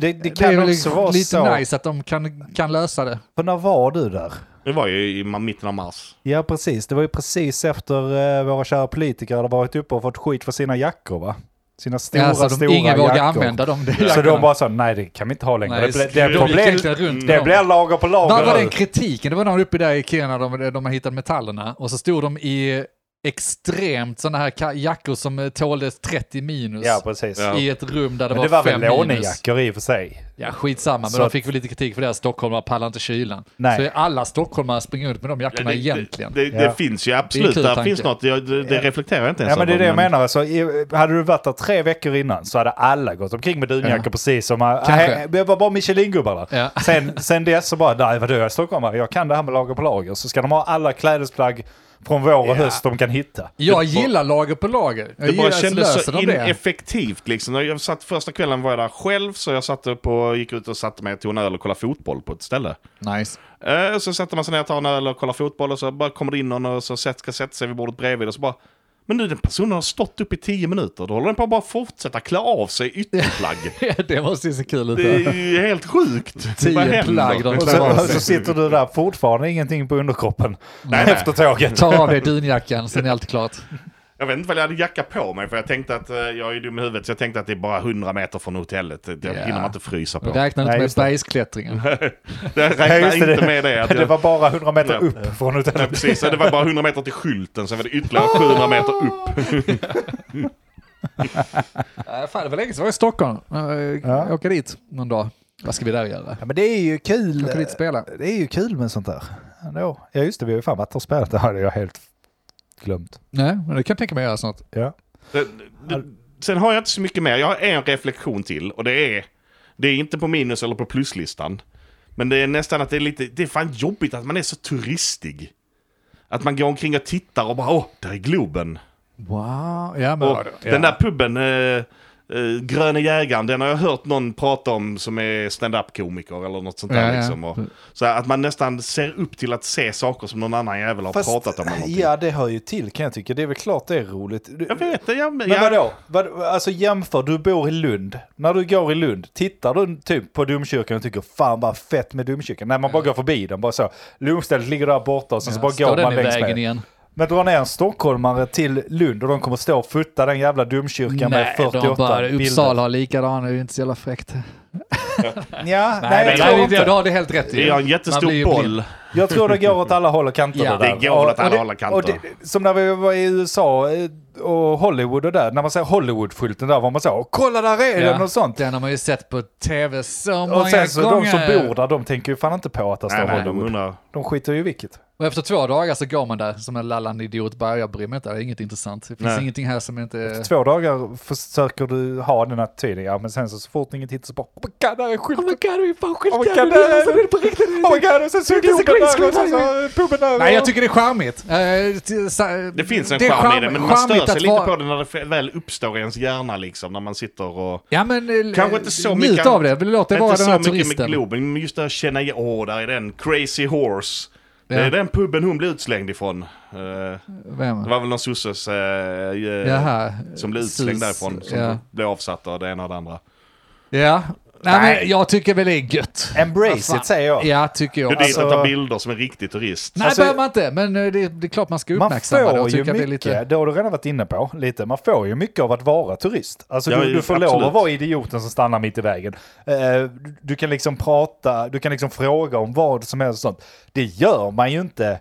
Speaker 3: det, det
Speaker 1: Det är
Speaker 3: kan
Speaker 1: väl
Speaker 3: också vara
Speaker 1: lite
Speaker 3: så.
Speaker 1: nice att de kan, kan lösa det.
Speaker 3: För när var du där?
Speaker 2: Det var ju i ma- mitten av mars.
Speaker 3: Ja precis, det var ju precis efter eh, våra kära politiker hade varit uppe och fått skit för sina jackor va? Sina stora,
Speaker 1: alltså, de,
Speaker 3: stora
Speaker 1: ingen
Speaker 3: jackor.
Speaker 1: vågar använda dem. Det
Speaker 3: Så de bara sa nej det kan vi inte ha längre.
Speaker 1: Nej,
Speaker 3: det, blir- det,
Speaker 1: de gick egentligen
Speaker 3: blir,
Speaker 1: runt med
Speaker 3: det
Speaker 1: dem.
Speaker 3: blir lager på lager.
Speaker 1: Där var den
Speaker 3: nu.
Speaker 1: kritiken, det var någon uppe där i Kiruna, de, de har hittat metallerna. Och så stod de i extremt sådana här ka- jackor som eh, tålde 30 minus.
Speaker 3: Ja precis.
Speaker 2: Ja.
Speaker 1: I ett rum där det
Speaker 3: Men
Speaker 1: var,
Speaker 3: det var
Speaker 1: fem
Speaker 3: väl
Speaker 1: minus.
Speaker 3: lånejackor i och för sig.
Speaker 1: Ja, skitsamma, men
Speaker 3: Så
Speaker 1: de
Speaker 3: att-
Speaker 1: fick väl lite kritik för det. att Stockholmare pallar inte kylan.
Speaker 3: Nej.
Speaker 1: Så alla stockholmare springer runt med de jackorna egentligen.
Speaker 2: Det, det,
Speaker 3: Ja.
Speaker 2: det finns ju absolut,
Speaker 1: kul
Speaker 2: där
Speaker 1: tanke.
Speaker 2: finns något. Jag- Det, det reflekterar jag inte ens
Speaker 3: Ja men det är
Speaker 2: över,
Speaker 3: det jag menar. Så, i- hade du varit där tre veckor innan så hade alla gått omkring med dunjackor
Speaker 1: Ja.
Speaker 3: precis som... äh,
Speaker 1: Kanske.
Speaker 3: äh, Det var bara Michelin-gubbar där.
Speaker 1: Ja.
Speaker 3: Sen, sen dess så bara, nej vadå jag är stockholmare, jag kan det här med lager på lager. Så ska de ha alla klädesplagg från vår och höst de kan hitta.
Speaker 1: Jag gillar lager på lager. Jag
Speaker 2: Det
Speaker 1: gillar
Speaker 2: bara
Speaker 1: att
Speaker 2: kändes
Speaker 1: löser
Speaker 2: så
Speaker 1: de det.
Speaker 2: ineffektivt liksom. När Jag satt, första kvällen var jag där själv så jag satt upp och gick ut och satte mig och tog en öl och kollade fotboll på ett ställe.
Speaker 1: Nice.
Speaker 2: Eh, Så sätter man sig ner, tar en öl och kollar fotboll och så bara kommer det in någon och så sätt- ska sätta sig vid bordet bredvid och så bara men nu den personen har stått upp i tio minuter, då håller den på att bara fortsätta klä av sig ytterplagg.
Speaker 1: det måste ju se kul ut.
Speaker 2: Det är ju helt sjukt.
Speaker 1: Tio
Speaker 2: Vad händer?
Speaker 1: plagg de
Speaker 3: Och
Speaker 1: klär av
Speaker 3: så,
Speaker 1: sig.
Speaker 3: så sitter du där fortfarande ingenting på underkroppen
Speaker 2: nej.
Speaker 3: efter tåget.
Speaker 1: Ta av dig dunjackan, sen är allt klart.
Speaker 2: Jag vet inte vad jag hade jacka på mig för jag tänkte att eh, jag är dum i huvudet så jag tänkte att det är bara 100 meter från hotellet. Det
Speaker 1: Ja.
Speaker 2: yeah. hinner man inte frysa på.
Speaker 1: Du räknar inte
Speaker 3: Nej,
Speaker 1: med
Speaker 3: just det.
Speaker 1: bergsklättringen.
Speaker 2: Det
Speaker 3: Ja,
Speaker 2: räknar
Speaker 3: just
Speaker 2: inte med det. Att
Speaker 3: Det
Speaker 2: jag,
Speaker 3: var bara 100 meter
Speaker 2: Ja.
Speaker 3: upp från
Speaker 2: Nej,
Speaker 3: hotellet.
Speaker 2: precis, det var bara 100 meter till skylten, sen var det ytterligare 700 meter upp.
Speaker 1: Äh, fan, det var länge sedan jag var i Stockholm. äh, Jag
Speaker 3: Ja.
Speaker 1: åker dit någon dag. Vad ska vi där göra?
Speaker 3: Ja, men det är ju kul. eh,
Speaker 1: Jag kan inte spela.
Speaker 3: Det är ju kul med sånt där. Ändå. Ja just det, vi har ju fan varit och spelat. Det hade jag helt glömt.
Speaker 1: Nej, men det kan jag tänka mig att göra snart.
Speaker 3: Ja.
Speaker 2: Det- det- Sen har jag inte så mycket mer. Jag har en reflektion till och det är... Det är inte på minus eller på pluslistan. Men det är nästan att det är lite... Det är fan jobbigt att man är så turistig. Att man går omkring och tittar och bara åh, där är Globen.
Speaker 1: Wow. Ja, men,
Speaker 2: Och den där puben, eh, eh, Gröne jägaren, den har jag hört någon prata om som är stand-up-komiker eller något sånt där.
Speaker 1: Ja, ja.
Speaker 2: Liksom. Och, så att man nästan ser upp till att se saker som någon annan jävel har pratat om. Eller någonting.
Speaker 3: eh, ja, det hör ju till kan jag tycka. Det är väl klart det är roligt. Du,
Speaker 2: Jag vet det, jag,
Speaker 3: men
Speaker 2: jag,
Speaker 3: vadå? Vad, alltså jämför, du bor i Lund. När du går i Lund, tittar du typ på domkyrkan och tycker fan vad fett med domkyrkan? Nej, man bara går förbi den. Bara så. Lunchstället ligger där borta och sen så bara
Speaker 1: Står
Speaker 3: går man
Speaker 1: den i
Speaker 3: längs
Speaker 1: vägen
Speaker 3: med.
Speaker 1: igen?
Speaker 3: Men dra ner en stockholmare till Lund och de kommer stå och futta den jävla domkyrkan
Speaker 1: Nej,
Speaker 3: med 48
Speaker 1: de bara,
Speaker 3: bilder.
Speaker 1: Uppsala har likadana, det är ju inte så jävla fräckt.
Speaker 3: Ja, nej, jag tror
Speaker 1: det-
Speaker 3: inte.
Speaker 1: det- du har det helt rätt i.
Speaker 2: Vi har en
Speaker 1: Man blir ju
Speaker 2: jättestor
Speaker 1: blind.
Speaker 2: boll.
Speaker 3: Jag tror det går åt alla håll och kanter.
Speaker 1: Ja.
Speaker 3: där.
Speaker 2: Det går åt alla
Speaker 3: Och det-
Speaker 2: håll och kanter.
Speaker 3: Och det, som när vi var i USA eh, och Hollywood och där, när man ser Hollywood-skylten där var man så, kolla där är den och sånt.
Speaker 1: Den har man ju sett på tv så många
Speaker 3: Och sen så de
Speaker 1: gånger.
Speaker 3: som bor där, de tänker ju fan inte på att det står
Speaker 2: Nej, nej, de
Speaker 3: Hollywood.
Speaker 2: undrar.
Speaker 3: De skiter ju i vilket.
Speaker 1: Och efter två dagar så går man där som en lallande idiot. Bara, jag bryr mig inte, det är inget intressant. Det finns
Speaker 2: Nej.
Speaker 1: ingenting här som inte...
Speaker 3: Två dagar försöker du ha den attityden, ja, men sen så, så fort inget hittas så bara, oh my god, där är skylten.
Speaker 1: my god, vi är fan
Speaker 3: Oh my god, där är den. Oh my god, och sen så
Speaker 1: is a
Speaker 3: dog den
Speaker 1: green
Speaker 3: där och sen
Speaker 1: screen.
Speaker 3: så puben där.
Speaker 1: Nej, jag
Speaker 3: och-
Speaker 1: tycker det är charmigt. Eh, t- sa-
Speaker 2: Det finns en
Speaker 1: är
Speaker 2: charm i det,
Speaker 1: charm-
Speaker 2: men man stör
Speaker 1: charmigt
Speaker 2: sig
Speaker 1: att
Speaker 2: lite
Speaker 1: vara-
Speaker 2: på det när det väl uppstår i ens hjärna liksom, när man sitter och...
Speaker 1: Ja, men eh,
Speaker 2: Kanske inte så
Speaker 1: njut
Speaker 2: mycket...
Speaker 1: av det. Låt det
Speaker 2: inte
Speaker 1: vara den här
Speaker 2: så mycket med
Speaker 1: turisten.
Speaker 2: Globen, men just det här känna igen, åh, där är den, Crazy Horse. Det
Speaker 1: Ja.
Speaker 2: är den puben hon blev utslängd ifrån. Eh,
Speaker 1: Vem?
Speaker 2: det var väl någon sosses eh, eh,
Speaker 1: Jaha.
Speaker 2: som blev utslängd
Speaker 1: Sus,
Speaker 2: därifrån, som
Speaker 1: ja.
Speaker 2: blev avsatt av det ena och det andra.
Speaker 1: Ja. Nej,
Speaker 3: Nej.
Speaker 1: men jag tycker väl det är gött. Vad
Speaker 3: Embrace
Speaker 1: fan.
Speaker 3: it säger jag.
Speaker 1: Ja, tycker jag.
Speaker 2: Du är dit
Speaker 1: Alltså,
Speaker 2: och
Speaker 3: Alltså-
Speaker 2: tar bilder som en riktig turist.
Speaker 1: nej,
Speaker 3: alltså-
Speaker 1: behöver man inte, men eh, det, det är klart man ska
Speaker 3: Man
Speaker 1: uppmärksamma det.
Speaker 3: får
Speaker 1: och
Speaker 3: ju
Speaker 1: tycka
Speaker 3: mycket,
Speaker 1: att
Speaker 3: det,
Speaker 1: det är lite...
Speaker 3: har du redan varit inne på lite, man får ju mycket av att vara turist. Alltså
Speaker 2: Ja,
Speaker 3: du,
Speaker 2: ju,
Speaker 3: du får lov
Speaker 2: absolut.
Speaker 3: att vara idioten som stannar mitt i vägen. Eh, du, du kan liksom prata, du kan liksom fråga om vad som helst och sånt. Det gör man ju inte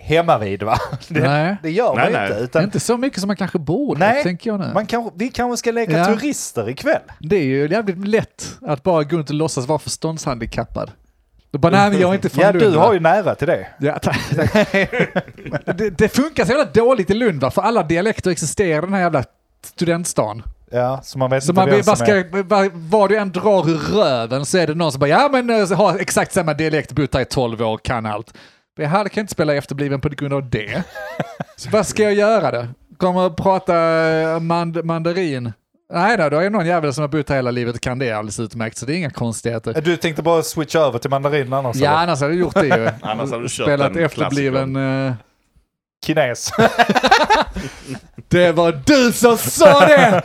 Speaker 3: hemma vid va? Det,
Speaker 1: Nej.
Speaker 3: det gör
Speaker 2: Nej, nej.
Speaker 3: man ju inte.
Speaker 1: Det är
Speaker 3: Utan,
Speaker 1: inte så mycket som man kanske borde,
Speaker 3: Nej,
Speaker 1: tänker jag nu.
Speaker 3: man kan, vi kanske ska leka
Speaker 1: Ja.
Speaker 3: turister ikväll.
Speaker 1: Det är ju jävligt lätt att bara gå runt och låtsas vara förståndshandikappad. Då bara, nej men jag är inte från
Speaker 3: Ja,
Speaker 1: Lund.
Speaker 3: du
Speaker 1: va?
Speaker 3: har ju nära till det.
Speaker 1: Ja, tack, tack. det, det funkar så jävla dåligt i Lund va, för alla dialekter existerar i den här jävla studentstan.
Speaker 3: Ja, så man vet
Speaker 1: Så
Speaker 3: inte
Speaker 1: man
Speaker 3: vem
Speaker 1: blir- bara
Speaker 3: som är.
Speaker 1: ska, bara- var du än drar ur röven så är det någon som bara ja men eh, har exakt samma dialekt, bott här i 12 år, kan allt. Det här kan jag inte spela i efterbliven på grund av det. Så vad ska jag göra då? Kommer att prata eh, mand mandarin? Nej då, då är det någon jävel som har bott här hela livet och kan det alldeles utmärkt så det är inga konstigheter.
Speaker 3: Eh, Du tänkte bara switcha över till mandarin annars?
Speaker 1: Ja
Speaker 3: eller?
Speaker 1: annars hade jag gjort det ju.
Speaker 2: Annars hade du kört
Speaker 1: Spelat
Speaker 2: den
Speaker 1: efterbliven... eh,
Speaker 3: Kines.
Speaker 1: Det var du som sa det!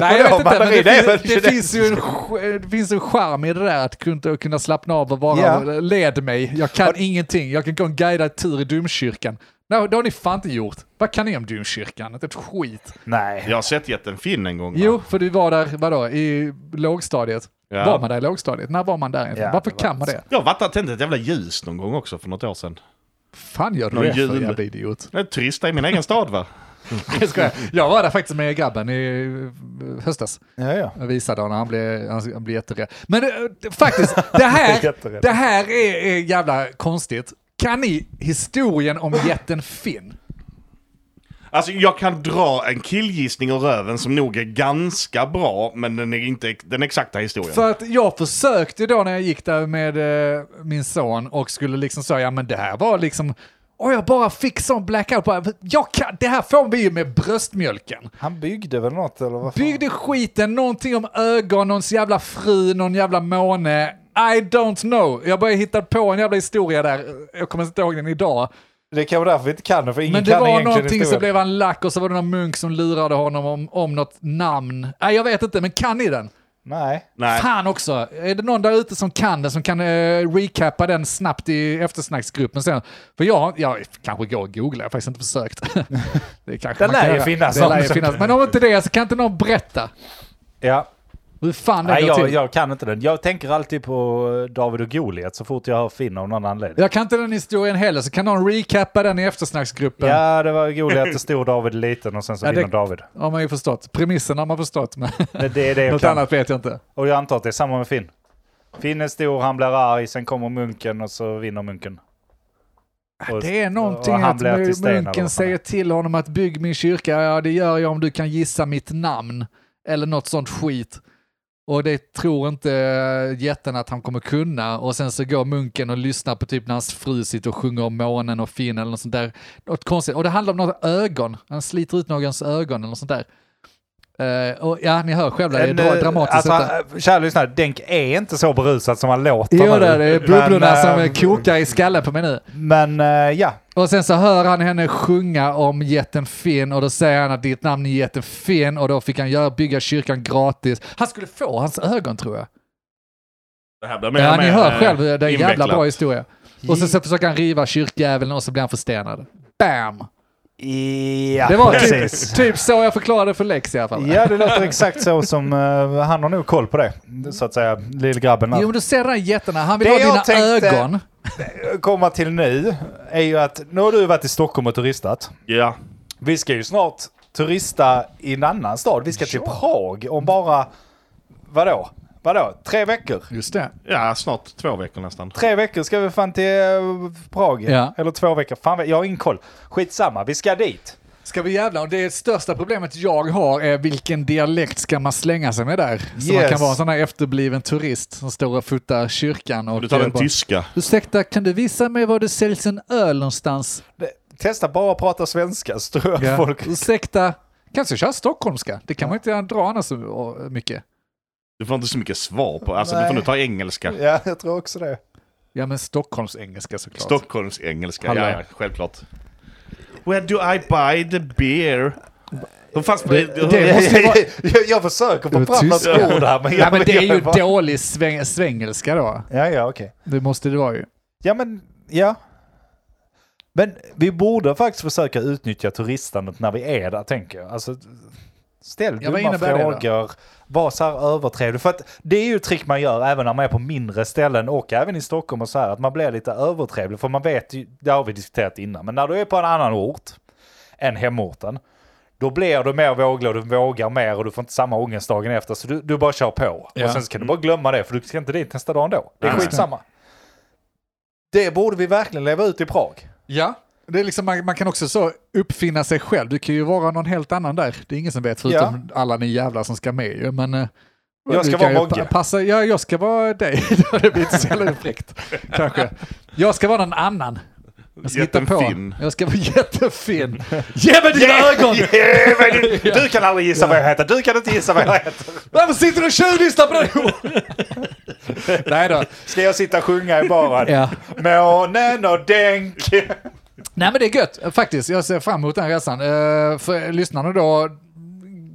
Speaker 1: Nej, jag
Speaker 3: Vadå,
Speaker 1: vet inte, men
Speaker 3: Marie, det är
Speaker 1: det,
Speaker 3: väl
Speaker 1: finns, det,
Speaker 3: det
Speaker 1: finns ju en, sk- eh, det finns en charm i det där att kunna, kunna slappna av och bara
Speaker 3: Ja.
Speaker 1: led mig. Jag kan ingenting. Jag kan gå en guidad tur i domkyrkan. Nej, det har ni fan inte gjort. Vad kan ni om domkyrkan? Inte ett skit.
Speaker 3: Nej.
Speaker 2: Jag har sett jätten Finn en gång. va?
Speaker 1: Jo, för du var där, vadå, i lågstadiet?
Speaker 2: Ja.
Speaker 1: Var man där i lågstadiet? När var man där egentligen?
Speaker 3: Ja,
Speaker 1: Varför
Speaker 3: det var
Speaker 1: kan man det?
Speaker 2: Jag har varit där och tänt ett jävla ljus någon gång också för något år sedan.
Speaker 1: Fan gör du
Speaker 2: Någon
Speaker 1: det för
Speaker 2: jul.
Speaker 1: jävla idiot?
Speaker 2: Jag är turista i min egen stad va?
Speaker 1: Jag skojar. Jag var där faktiskt med grabben i eh, höstas.
Speaker 3: Ja, ja.
Speaker 1: Jag visade honom, han blev, han, han blev jätterädd. Men eh, det- faktiskt, det här,
Speaker 3: Jätterädd.
Speaker 1: det här är, är jävla konstigt. Kan ni historien om jätten Finn?
Speaker 2: Alltså jag kan dra en killgissning ur röven som nog är ganska bra, men den är inte den exakta historien.
Speaker 1: För att jag försökte då när jag gick där med eh, min son och skulle liksom säga, ja men det här var liksom, åh jag bara fick sån blackout, bara, jag kan, det här får vi ju med bröstmjölken.
Speaker 3: Han byggde väl något eller vad fan?
Speaker 1: Byggde skiten, någonting om ögon, någons jävla fru, någon jävla måne. I don't know. Jag började hitta på en jävla historia där. Jag kommer inte ihåg den idag.
Speaker 3: Det är kanske därför vi inte kan det, för ingen
Speaker 1: Men det
Speaker 3: kan
Speaker 1: var
Speaker 3: egentligen
Speaker 1: någonting så
Speaker 3: historien.
Speaker 1: blev han lack och så var det någon munk som lurade honom om, om något namn. Nej, jag vet inte, men kan ni den?
Speaker 3: Nej.
Speaker 2: Nej.
Speaker 1: Fan också! Är det någon där ute som kan den, som kan eh, recappa den snabbt i eftersnacksgruppen sen? För jag, jag kanske går och googlar, jag har faktiskt inte försökt. det kanske
Speaker 3: Det
Speaker 1: man kan
Speaker 3: lär ju
Speaker 1: göra.
Speaker 3: finnas
Speaker 1: det lär ju
Speaker 3: någon.
Speaker 1: finnas. Men om inte det så kan inte någon berätta
Speaker 3: Ja.
Speaker 1: hur fan det
Speaker 3: Nej,
Speaker 1: går
Speaker 3: jag,
Speaker 1: till. Jag,
Speaker 3: jag kan inte den. Jag tänker alltid på eh, David och Goliat så fort jag hör Finn av någon anledning.
Speaker 1: kan inte den historien heller, så kan någon recappa den i eftersnacksgruppen.
Speaker 3: Ja, det var ju Goliat, det stod David liten och sen så
Speaker 1: Ja, det-
Speaker 3: vinner David.
Speaker 1: Har man ju förstått. Premissen har man förstått, men
Speaker 3: Det, det är det jag
Speaker 1: något
Speaker 3: kan.
Speaker 1: annat vet jag inte.
Speaker 3: Och jag antar att det är samma med Finn. Finn är stor, han blir arg, sen kommer munken och så vinner munken. Och-
Speaker 1: Det är någonting
Speaker 3: och han
Speaker 1: att
Speaker 3: blir till
Speaker 1: mu-
Speaker 3: sten eller vad fan
Speaker 1: munken säger till honom att bygg min kyrka, ja det gör jag om du kan gissa mitt namn. Eller något sånt skit. Och det tror inte eh, jätten att han kommer kunna. Och sen så går munken och lyssnar på typ när hans fru sitter och sjunger om månen och Finn eller något sånt där. Något konstigt. Och det handlar om något ögon. Han sliter ut någons ögon eller något sånt där. Eh, och ja, ni hör själva, det är
Speaker 3: En,
Speaker 1: dra-
Speaker 3: eh,
Speaker 1: dramatiskt.
Speaker 3: Alltså,
Speaker 1: detta.
Speaker 3: han- kära lyssnare, Denk är inte så berusad som han låter
Speaker 1: Jo,
Speaker 3: nu.
Speaker 1: det är det. bubblorna
Speaker 3: Men,
Speaker 1: som
Speaker 3: eh,
Speaker 1: eh, kokar i skallen på mig nu.
Speaker 3: Men eh, ja,
Speaker 1: Och sen så hör han henne sjunga om jätten Finn och då säger han att ditt namn är jätten Finn och då fick han göra, bygga kyrkan gratis. Han skulle få hans ögon tror jag.
Speaker 2: Det här blir mer
Speaker 1: Ja,
Speaker 2: och
Speaker 1: ni
Speaker 2: mer,
Speaker 1: hör
Speaker 2: eh,
Speaker 1: själv, det är en jävla
Speaker 2: invecklat.
Speaker 1: bra historia. Och sen så försöker han riva kyrkjäveln och så blir han förstenad. Bam!
Speaker 3: ja
Speaker 1: Det var
Speaker 3: precis.
Speaker 1: typ, typ så jag förklarade för Lex i alla fall.
Speaker 3: Ja, det låter exakt så som eh, han har nog koll på det. Så att säga, lillgrabben.
Speaker 1: Jo,
Speaker 3: där.
Speaker 1: men du ser den här jätten, här, han vill
Speaker 3: Det
Speaker 1: ha
Speaker 3: jag
Speaker 1: dina
Speaker 3: tänkte-
Speaker 1: ögon.
Speaker 3: Komma till nu är ju att nu har du varit i Stockholm och turistat.
Speaker 2: Ja.
Speaker 3: Vi ska ju snart turista i en annan stad. Vi ska till Prag om bara, vadå? Vadå? Tre veckor?
Speaker 1: Just det.
Speaker 2: ja, snart två veckor nästan.
Speaker 3: Tre veckor ska vi fan till eh, Prag.
Speaker 1: Ja.
Speaker 3: Eller två veckor. Fan, vet- jag har ingen koll. Skitsamma, vi ska dit.
Speaker 1: Ska vi jävla, och det största problemet jag har är vilken dialekt ska man slänga sig med där? Så man
Speaker 3: Yes.
Speaker 1: kan vara en sån här efterbliven turist som står och fotar kyrkan. Och
Speaker 2: Du tar den
Speaker 1: bara,
Speaker 2: tyska.
Speaker 1: Ursäkta, kan du visa mig var det säljs en öl någonstans?
Speaker 3: Det- Testa bara att prata svenska så tror jag
Speaker 1: Ja.
Speaker 3: folk...
Speaker 1: Ursäkta, kanske köra stockholmska? Det kan man inte dra annars så och- mycket.
Speaker 2: Du får inte så mycket svar på. Alltså
Speaker 3: Nej.
Speaker 2: du får nu ta engelska.
Speaker 3: Ja, jag tror också det.
Speaker 1: Ja, men stockholmsengelska såklart.
Speaker 2: Stockholms engelska.
Speaker 1: Hallå.
Speaker 2: Ja, ja, självklart. Where do I buy the beer? Hur fan det,
Speaker 1: det måste vara-
Speaker 3: jag, jag försöker få
Speaker 1: Det var
Speaker 3: fram något
Speaker 1: tyska.
Speaker 3: ord här. Men
Speaker 1: ja, men det är ju
Speaker 3: jag-
Speaker 1: dålig sväng, svängelska då.
Speaker 3: Ja, ja, okej.
Speaker 1: Det måste det vara ju.
Speaker 3: Ja, men ja. Men vi borde faktiskt försöka utnyttja turistandet när vi är där, tänker jag. Alltså, Ställ
Speaker 1: Ja, vad
Speaker 3: dumma
Speaker 1: innebär det då?
Speaker 3: frågor. Var så här övertrevlig. För att det är ju ett trick man gör även när man är på mindre ställen och även i Stockholm och så här. Att man blir lite övertrevlig. För man vet ju, det har vi diskuterat innan, men när du är på en annan ort än hemorten. Då blir du mer våglig och du vågar mer och du får inte samma ångest dagen efter. Så du, du bara kör på.
Speaker 1: Ja.
Speaker 3: Och sen så kan du bara glömma det för du ska inte dit nästa dag ändå. Det är
Speaker 2: Nej.
Speaker 3: skitsamma. Det borde vi verkligen leva ut i Prag.
Speaker 1: Ja, det är liksom, man, man kan också så uppfinna sig själv. Du kan ju vara någon helt annan där. Det är ingen som vet, förutom alla ni jävlar som ska med ju. Men, eh,
Speaker 3: Jag
Speaker 1: du kan
Speaker 3: ska vara
Speaker 1: ju pa-
Speaker 3: Mogge.
Speaker 1: Passa, ja, jag ska vara dig. Då hade det blivit så jävla fräckt, kanske. Jag ska vara någon annan. Jag ska hitta på.
Speaker 2: Jättefin.
Speaker 1: Jag ska vara jättefin. Ge mig dina ögon!
Speaker 3: Du kan aldrig gissa vad jag heter. Du kan inte gissa vad jag heter.
Speaker 1: Varför sitter du och tjuvlyssnar på det? Nej då.
Speaker 3: Ska jag sitta och sjunga i baren?
Speaker 1: Ja.
Speaker 3: Månen och Denk.
Speaker 1: Nej men det är gött faktiskt. Jag ser fram emot den resan. Eh, för lyssnarna då,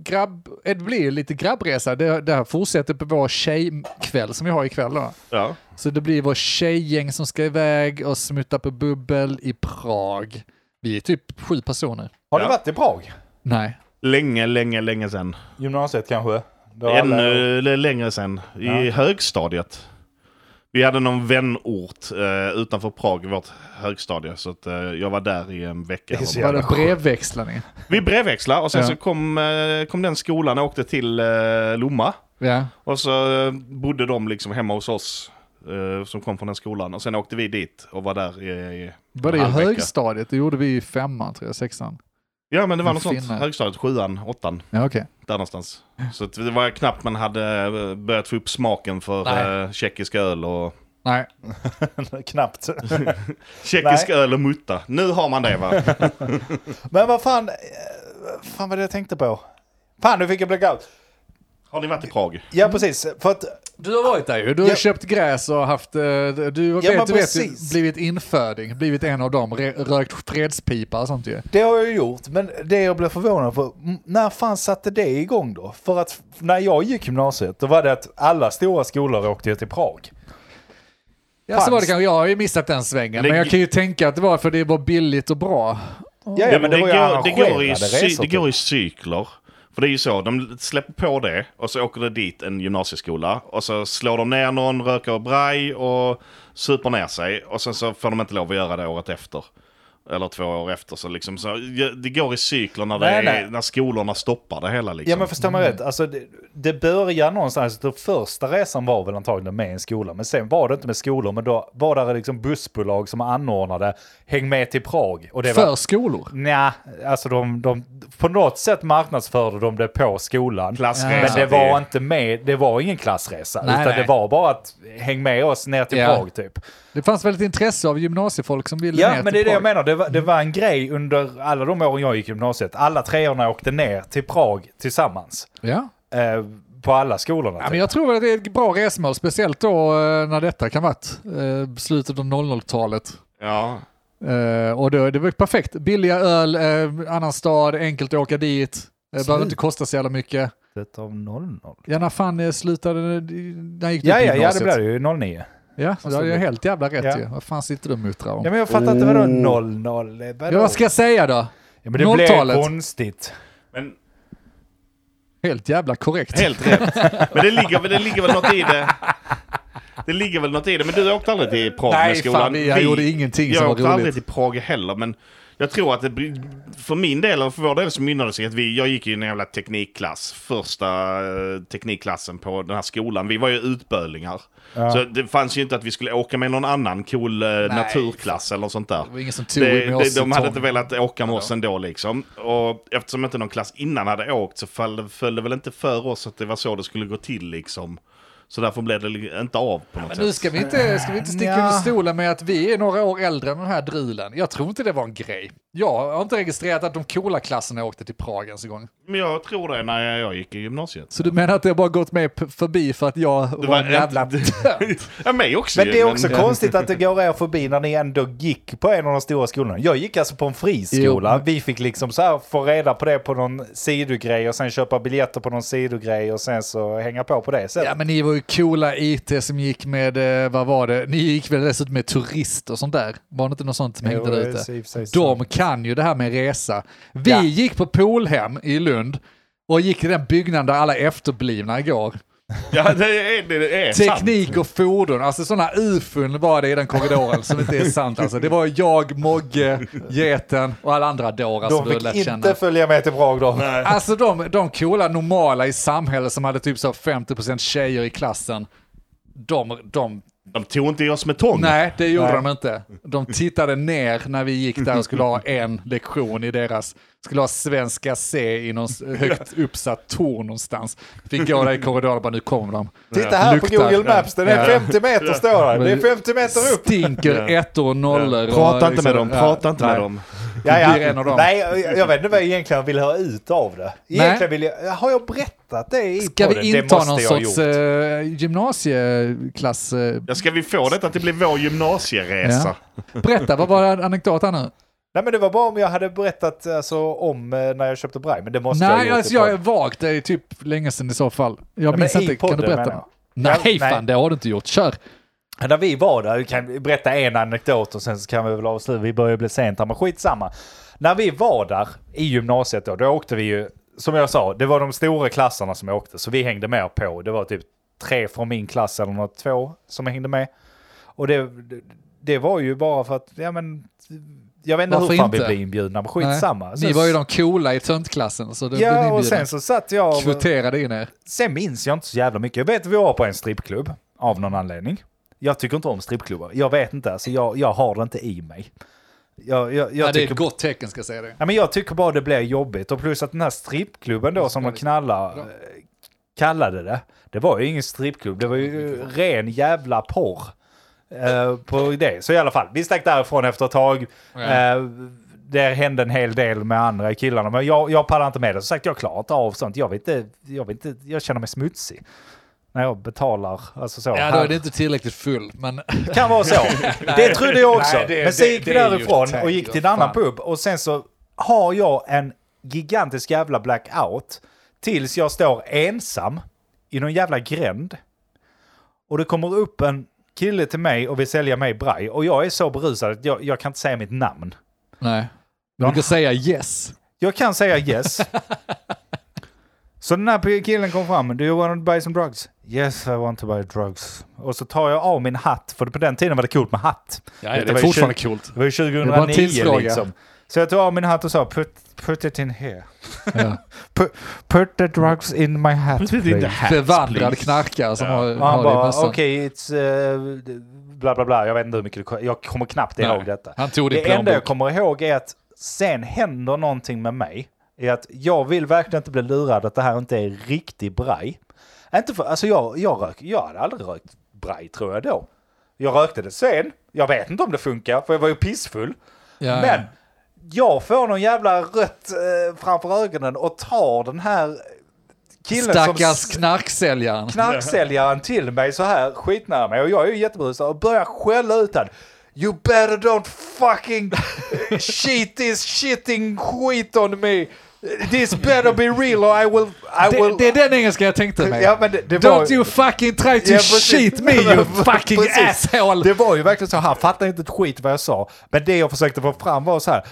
Speaker 1: grabb, eh, det blir ju lite grabbresa. Det, det här fortsätter på vår tjejkväll som vi har ikväll då.
Speaker 2: Ja.
Speaker 1: Så det blir vår tjejgäng som ska iväg och smutta på bubbel i Prag. Vi är typ sju personer.
Speaker 3: Har du
Speaker 2: Ja.
Speaker 3: varit i Prag?
Speaker 1: Nej.
Speaker 2: Länge, länge, länge sedan.
Speaker 3: Gymnasiet kanske? Då alla-
Speaker 2: Ännu längre sedan. I högstadiet. Vi hade någon vänort eh, utanför Prag, i vårt högstadie. Så att, eh, jag var där i en vecka.
Speaker 3: Det är så
Speaker 1: Var
Speaker 3: jävla
Speaker 1: det brevväxlande?
Speaker 2: Vi brevväxlade och sen
Speaker 1: Ja.
Speaker 2: så kom, eh, kom den skolan och åkte till eh, Lomma.
Speaker 1: Ja.
Speaker 2: Och så eh, bodde de liksom hemma hos oss eh, som kom från den skolan. Och sen åkte vi dit och var där i, i
Speaker 1: Var det i
Speaker 2: en halv vecka.
Speaker 1: högstadiet? Det gjorde vi i femman, tror jag, sexan.
Speaker 2: Ja men det var
Speaker 1: En
Speaker 2: något sånt.
Speaker 1: finne.
Speaker 2: Högstadiet, sjuan, åttan.
Speaker 1: Ja, okej.
Speaker 2: Där någonstans. Så att det var knappt man hade eh, börjat få upp smaken för
Speaker 1: Nej.
Speaker 2: eh, tjeckisk öl och...
Speaker 1: Nej.
Speaker 3: Knappt.
Speaker 2: Tjeckisk öl och mutta. Nu har man det va?
Speaker 3: Men vad fan, eh, vad fan var det jag tänkte på? Fan, nu fick jag blackout.
Speaker 2: Har ni varit i Prag?
Speaker 3: Ja, precis. För att
Speaker 1: Du har varit där ju. Du har
Speaker 3: Ja.
Speaker 1: köpt gräs och haft, eh, du, du
Speaker 3: men
Speaker 1: vet, du vet, ju,
Speaker 3: precis.
Speaker 1: blivit inföding, blivit en av dem, re- rökt fredspipa och sånt ju.
Speaker 3: det har jag gjort, men det jag blev förvånad på, m- när fan satte det igång då? För att f- när jag gick gymnasiet, då var det att alla stora skolor åkte ju till Prag.
Speaker 1: Ja, så
Speaker 3: Fanns.
Speaker 1: var det kanske, jag har ju missat den svängen, men
Speaker 2: Lägg-
Speaker 1: jag kan ju tänka att det var för det var billigt och bra.
Speaker 3: Ja, ja, men det, var ju
Speaker 2: går, det, går i,
Speaker 3: arrangerade
Speaker 2: cy-
Speaker 3: resor typ.
Speaker 2: det går
Speaker 3: till.
Speaker 2: i cykler. För det är ju så, de släpper på det och så åker det dit en gymnasieskola. Och så slår de ner någon, röker och braj och super ner sig. Och sen så får de inte lov att göra det året efter. Eller två år efter. Så liksom, så, ja, det går i cykler när, det
Speaker 3: Nej,
Speaker 2: är,
Speaker 3: nej.
Speaker 2: när skolorna stoppar det hela. Liksom.
Speaker 3: Ja men förstår man rätt, alltså det, det börjar någonstans, den första resan var väl antagligen med en skola, men sen var det inte med skolor, men då var det liksom bussbolag som anordnade Häng med till Prag. Och det var,
Speaker 1: För skolor.
Speaker 3: Nja, alltså de, de, på något sätt marknadsförde de det på skolan.
Speaker 2: Klassresa
Speaker 3: Men det
Speaker 2: till-
Speaker 3: var inte med, det var ingen klassresa,
Speaker 1: Nej,
Speaker 3: utan
Speaker 1: nej.
Speaker 3: det var bara att häng med oss ner till
Speaker 1: Ja.
Speaker 3: Prag typ.
Speaker 1: Det fanns väl ett intresse av gymnasiefolk som ville
Speaker 3: Ja,
Speaker 1: ner
Speaker 3: men
Speaker 1: till
Speaker 3: det är det jag
Speaker 1: Prag.
Speaker 3: menar. Det var, det var en grej under alla de åren jag gick i gymnasiet. Alla treorna åkte ner till Prag tillsammans.
Speaker 1: Ja.
Speaker 3: Eh, på alla skolorna.
Speaker 1: Ja,
Speaker 3: typ.
Speaker 1: men jag tror att det är ett bra resmål, speciellt då eh, när detta kan varit eh, slutet av 00-talet.
Speaker 2: Ja.
Speaker 1: Eh, och då, det var perfekt. Billiga öl, eh, annan stad, enkelt att åka dit. Eh, behöver inte kosta så jävla mycket.
Speaker 3: Slutet av 00.
Speaker 1: Ja, när fan eh, slutade... När gick du
Speaker 3: Ja,
Speaker 1: på
Speaker 3: ja, ja, det
Speaker 1: gymnasiet?
Speaker 3: blev det ju 09.
Speaker 1: Ja, så du har ju helt jävla rätt
Speaker 3: Ja.
Speaker 1: ju. Vad fan sitter du och muttrar om?
Speaker 3: Ja, men jag fattar inte vadå 00?
Speaker 1: Ja,
Speaker 3: Vadå?
Speaker 1: vad ska Oh. jag säga då?
Speaker 3: Ja, men det blev
Speaker 1: 00-talet.
Speaker 3: konstigt.
Speaker 2: Men
Speaker 1: Helt jävla korrekt.
Speaker 2: helt rätt. Men det ligger, väl- det ligger väl något i det. Det ligger väl något i det. Men du åkte aldrig till Prag
Speaker 1: Nej,
Speaker 2: med skolan?
Speaker 1: fan, jag gjorde ingenting
Speaker 2: jag
Speaker 1: som var
Speaker 2: åkte aldrig
Speaker 1: roligt.
Speaker 2: till Prag heller, men jag tror att det, blir- för min del, och för vår del, så mynnade det sig att vi, jag gick ju i en jävla teknikklass, första eh, teknikklassen på den här skolan. Vi var ju utbölingar. Så det fanns ju inte att vi skulle åka med någon annan cool eh, naturklass eller sånt där.
Speaker 1: Det var ingen som tog
Speaker 2: Det,
Speaker 1: med oss
Speaker 2: det, de
Speaker 1: i
Speaker 2: hade
Speaker 1: tång.
Speaker 2: inte velat åka med oss ändå liksom. Och eftersom inte någon klass innan hade åkt så föll, föll det väl inte för oss att det var så det skulle gå till liksom. Så därför blev det li- inte av på något
Speaker 1: Men
Speaker 2: sätt.
Speaker 1: nu ska vi inte, ska vi inte sticka
Speaker 3: Nja.
Speaker 1: under stolen med att vi är några år äldre än den här drilen. Jag tror inte det var en grej. Jag har inte registrerat att de coola klasserna åkte till Prag ens en gång.
Speaker 2: Men jag tror det när jag, jag gick i gymnasiet.
Speaker 1: Så du menar att det har bara gått mig p- förbi för att jag var,
Speaker 2: var
Speaker 1: en jävla
Speaker 2: inte-
Speaker 1: tönt?
Speaker 2: Ja, mig också
Speaker 3: Men
Speaker 2: ju,
Speaker 3: det är också
Speaker 2: men-
Speaker 3: konstigt att det går er förbi när ni ändå gick på en av de stora skolorna. Jag gick alltså på en friskola. Vi fick liksom så här få reda på det på någon sidogrej och sen köpa biljetter på någon sidogrej och sen så hänga på på det
Speaker 1: Ja
Speaker 3: sättet.
Speaker 1: men ni var ju coola IT som gick med, eh, vad var det, ni gick väl dessutom med turist och sånt där? Var det inte något sånt som hängde
Speaker 3: Jo,
Speaker 1: där
Speaker 3: det är i och för
Speaker 1: ute?
Speaker 3: sig sant.
Speaker 1: De kan ju det här med resa. Vi
Speaker 3: Ja.
Speaker 1: gick på Polhem i Lund och gick till den byggnaden där alla efterblivna går.
Speaker 2: Ja, det är, det är sant.
Speaker 1: Teknik och fordon, alltså sådana ufon var det i den korridoren som inte är sant. Alltså. Det var jag, Mogge, Geten och alla andra dårar som
Speaker 3: De
Speaker 1: alltså, du
Speaker 3: fick
Speaker 1: lärt
Speaker 3: inte
Speaker 1: känna.
Speaker 3: följa med till Prag då.
Speaker 1: Alltså de, de coola, normala i samhället som hade typ så 50% tjejer i klassen, de, de
Speaker 2: De tog inte i oss med tång.
Speaker 1: Nej, det gjorde
Speaker 3: Nej.
Speaker 1: de inte. De tittade ner när vi gick där och skulle ha en lektion i deras, skulle ha svenska C i någon s- högt uppsatt torn någonstans. Fick gå där i korridoren och bara nu kommer de.
Speaker 3: Titta här på
Speaker 1: Luktar.
Speaker 3: Google Maps, den är
Speaker 1: Ja.
Speaker 3: 50 meter står det. Det är 50 meter upp.
Speaker 1: Stinker ettor och nollor.
Speaker 2: Prata
Speaker 1: och
Speaker 2: inte med
Speaker 1: liksom-
Speaker 2: dem, prata inte med
Speaker 1: nej.
Speaker 2: dem.
Speaker 3: Ja,
Speaker 1: blir en av
Speaker 3: ja.
Speaker 1: dem.
Speaker 3: Nej, jag jag vet inte vad jag egentligen vill ha ut av det. Egentligen vill jag, har jag berättat det i
Speaker 1: Ska
Speaker 3: podden?
Speaker 1: vi
Speaker 3: Det
Speaker 1: inta
Speaker 3: måste
Speaker 1: någon
Speaker 3: jag ha
Speaker 1: sorts
Speaker 3: gjort.
Speaker 1: eh, gymnasieklass... eh,
Speaker 2: Ja, ska vi få detta att det blir vår gymnasieresa?
Speaker 1: berätta, vad var anekdoten nu?
Speaker 3: Nej, men det var bara om jag hade berättat alltså, om eh, när jag köpte Braj, men det måste jag ha
Speaker 1: Nej,
Speaker 3: gjort. i
Speaker 1: alltså jag är
Speaker 3: podden.
Speaker 1: vag. Det är typ länge sedan i så fall. Jag
Speaker 3: men
Speaker 1: minns
Speaker 3: i
Speaker 1: inte. kan
Speaker 3: podden,
Speaker 1: du berätta?
Speaker 3: menar
Speaker 1: Nej, nej,
Speaker 3: Nej.
Speaker 1: fan det har du inte gjort. Kör!
Speaker 3: När vi var där, vi kan berätta en anekdot och sen så kan vi väl avsluta, vi börjar bli sent här, men skitsamma. När vi var där i gymnasiet då, då åkte vi ju, som jag sa, det var de stora klasserna som åkte, så vi hängde med på. Det var typ tre från min klass eller något, två som hängde med. Och det, det var ju bara för att, ja men, jag vet inte
Speaker 1: Varför
Speaker 3: hur fan vi
Speaker 1: inte?
Speaker 3: blev inbjudna, men
Speaker 1: Nej.
Speaker 3: skitsamma.
Speaker 1: Ni var ju de coola i töntklassen, så det blev
Speaker 3: Ja,
Speaker 1: ni
Speaker 3: och
Speaker 1: inbjudna.
Speaker 3: sen så satt jag...
Speaker 1: Kvoterade in er.
Speaker 3: Sen minns jag inte så jävla mycket. Jag vet att vi var på en strippklubb av någon anledning. Jag tycker inte om strippklubbar. Jag vet inte, alltså jag, jag har det inte i mig. Jag, jag, jag,
Speaker 1: Ja, det är
Speaker 3: tycker,
Speaker 1: ett gott tecken ska jag säga det.
Speaker 3: ja, men jag tycker bara det blir jobbigt. Och plus att den här strippklubben då som de knallar, eh, kallade det, det var ju ingen strippklubb. Det var ju eh, ren jävla porr. eh, på det. Så i alla fall, vi stack därifrån efter ett tag.
Speaker 1: Ja.
Speaker 3: Eh, det hände en hel del med andra killarna, men jag, jag pallar inte med det. Som sagt, jag klarar inte av sånt. Jag, vill inte, jag, vill inte, jag känner mig smutsig. När jag betalar, alltså så.
Speaker 1: Ja, då
Speaker 3: här.
Speaker 1: är det inte tillräckligt full, men...
Speaker 3: kan vara så. det trodde jag också.
Speaker 1: Nej, det-
Speaker 3: men sen
Speaker 1: det-
Speaker 3: gick vi
Speaker 1: det är ju
Speaker 3: därifrån
Speaker 1: tank,
Speaker 3: och gick till en
Speaker 1: ja,
Speaker 3: annan
Speaker 1: fan.
Speaker 3: pub och sen så har jag en gigantisk jävla blackout tills jag står ensam i någon jävla gränd. Och det kommer upp en kille till mig och vill sälja mig braj och jag är så berusad att jag, jag kan inte säga mitt namn.
Speaker 1: Nej. Du kan säga yes.
Speaker 3: Jag kan säga yes. så den här killen kom fram. Do you want to buy some drugs? Yes, I want to buy drugs. Och så tar jag av min hatt, för på den tiden var det coolt med hatt.
Speaker 1: Ja, det,
Speaker 3: Det var
Speaker 1: är
Speaker 3: ju
Speaker 1: fortfarande coolt.
Speaker 3: Det var ju
Speaker 1: Det var en
Speaker 3: 2009
Speaker 1: tidsfråga.
Speaker 3: liksom. Så jag tog av min hatt och sa put, put it in here.
Speaker 1: Ja.
Speaker 3: Put, put the drugs in my hat please.
Speaker 1: Bevandrad knarkare som har,
Speaker 3: Och han
Speaker 1: har det i
Speaker 3: bara
Speaker 1: mössan.
Speaker 3: okej, it's... Uh, bla bla bla. Jag vet inte hur mycket det, Jag kommer knappt
Speaker 1: Nej.
Speaker 3: ihåg detta.
Speaker 1: Han tog det i
Speaker 3: Det enda jag
Speaker 1: plånbok.
Speaker 3: kommer ihåg är att sen händer någonting med mig. Är att jag vill verkligen inte bli lurad att det här inte är riktig braj. Inte för, alltså jag, jag, rök, jag hade aldrig rökt braj tror jag då. Jag rökte det sen. Jag vet inte om det funkar för jag var ju pissfull.
Speaker 1: Ja,
Speaker 3: Men
Speaker 1: ja.
Speaker 3: jag får någon jävla rött eh, framför ögonen och tar den här killen som
Speaker 1: Stackars
Speaker 3: s-
Speaker 1: knarksäljaren.
Speaker 3: knarksäljaren till mig så här skitnära mig och jag är ju jätteberusad och börjar skälla ut han. You better don't fucking shit this shitting skit on me. This better be real or I will... I
Speaker 1: Det,
Speaker 3: will
Speaker 1: det är den engelska jag tänkte med.
Speaker 3: Ja, men det- det var-
Speaker 1: Don't you fucking try to
Speaker 3: Ja, precis.
Speaker 1: cheat me you fucking
Speaker 3: Precis.
Speaker 1: asshole!
Speaker 3: Det var ju verkligen så, han fattade inte ett skit vad jag sa. Men det jag försökte få fram var så här.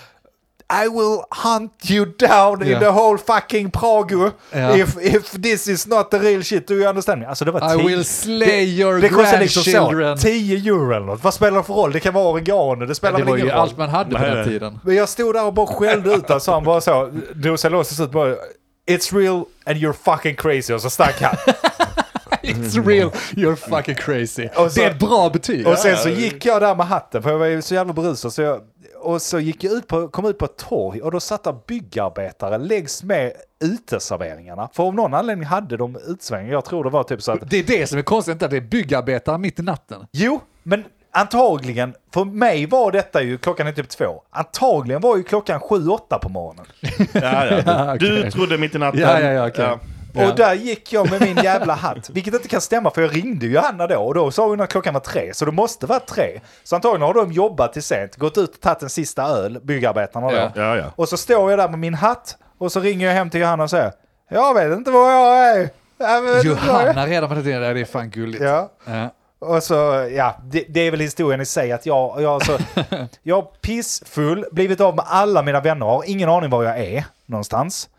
Speaker 3: I will hunt you down in
Speaker 1: Ja.
Speaker 3: the whole fucking Prago
Speaker 1: Ja.
Speaker 3: if, if this is not the real shit. Do you understand me? Alltså det var
Speaker 1: I
Speaker 3: tio-
Speaker 1: will slay your
Speaker 3: det kostar liksom så,
Speaker 1: grandchildren.
Speaker 3: 10 euro eller något. Vad spelar det för roll? Det kan vara oregano, det spelar
Speaker 1: Det
Speaker 3: väl
Speaker 1: var
Speaker 3: ingen
Speaker 1: ju
Speaker 3: roll.
Speaker 1: allt man hade på
Speaker 2: Nej,
Speaker 1: den
Speaker 2: nej.
Speaker 1: tiden.
Speaker 3: Men jag stod där och bara skällde ut honom, så han bara så, drog sig loss och så bara It's real and you're fucking crazy och så stack han.
Speaker 1: It's real, you're fucking crazy.
Speaker 3: Och så-
Speaker 1: det är ett bra betyg.
Speaker 3: Och sen så gick jag där med hatten, för jag var ju så jävla berusad. Så jag, och så gick jag ut på, kom ut på ett torg och då satt där byggarbetare längs med uteserveringarna. För om någon anledning hade de utsvängningar. Jag tror det var typ så att...
Speaker 1: Det är det som är konstigt, inte att det är byggarbetare mitt i natten.
Speaker 3: Jo, men antagligen, för mig var detta ju, klockan är typ två. Antagligen var ju klockan sju, åtta på morgonen.
Speaker 2: Ja, ja. Du
Speaker 1: okej.
Speaker 2: trodde mitt i natten.
Speaker 1: Ja, ja, ja, okej. Ja.
Speaker 3: Och där gick jag med min jävla hatt. Vilket inte kan stämma för jag ringde ju Hanna då och då sa hon att klockan var tre. Så det måste vara tre. Så antagligen har de jobbat till sent, gått ut och tagit en sista öl, byggarbetarna då.
Speaker 1: Ja.
Speaker 2: Ja, ja.
Speaker 3: Och så står jag där med min hatt och så ringer jag hem till Johanna och säger Jag vet inte var jag är. Jag vet inte var jag är."
Speaker 1: Johanna redan på den tiden, det är fan gulligt. Eh,
Speaker 3: Ja.
Speaker 1: Ja.
Speaker 3: Och så, ja, det, det är väl historien i sig att jag, jag, så, jag är pissfull, blivit av med alla mina vänner, har ingen aning var jag är någonstans.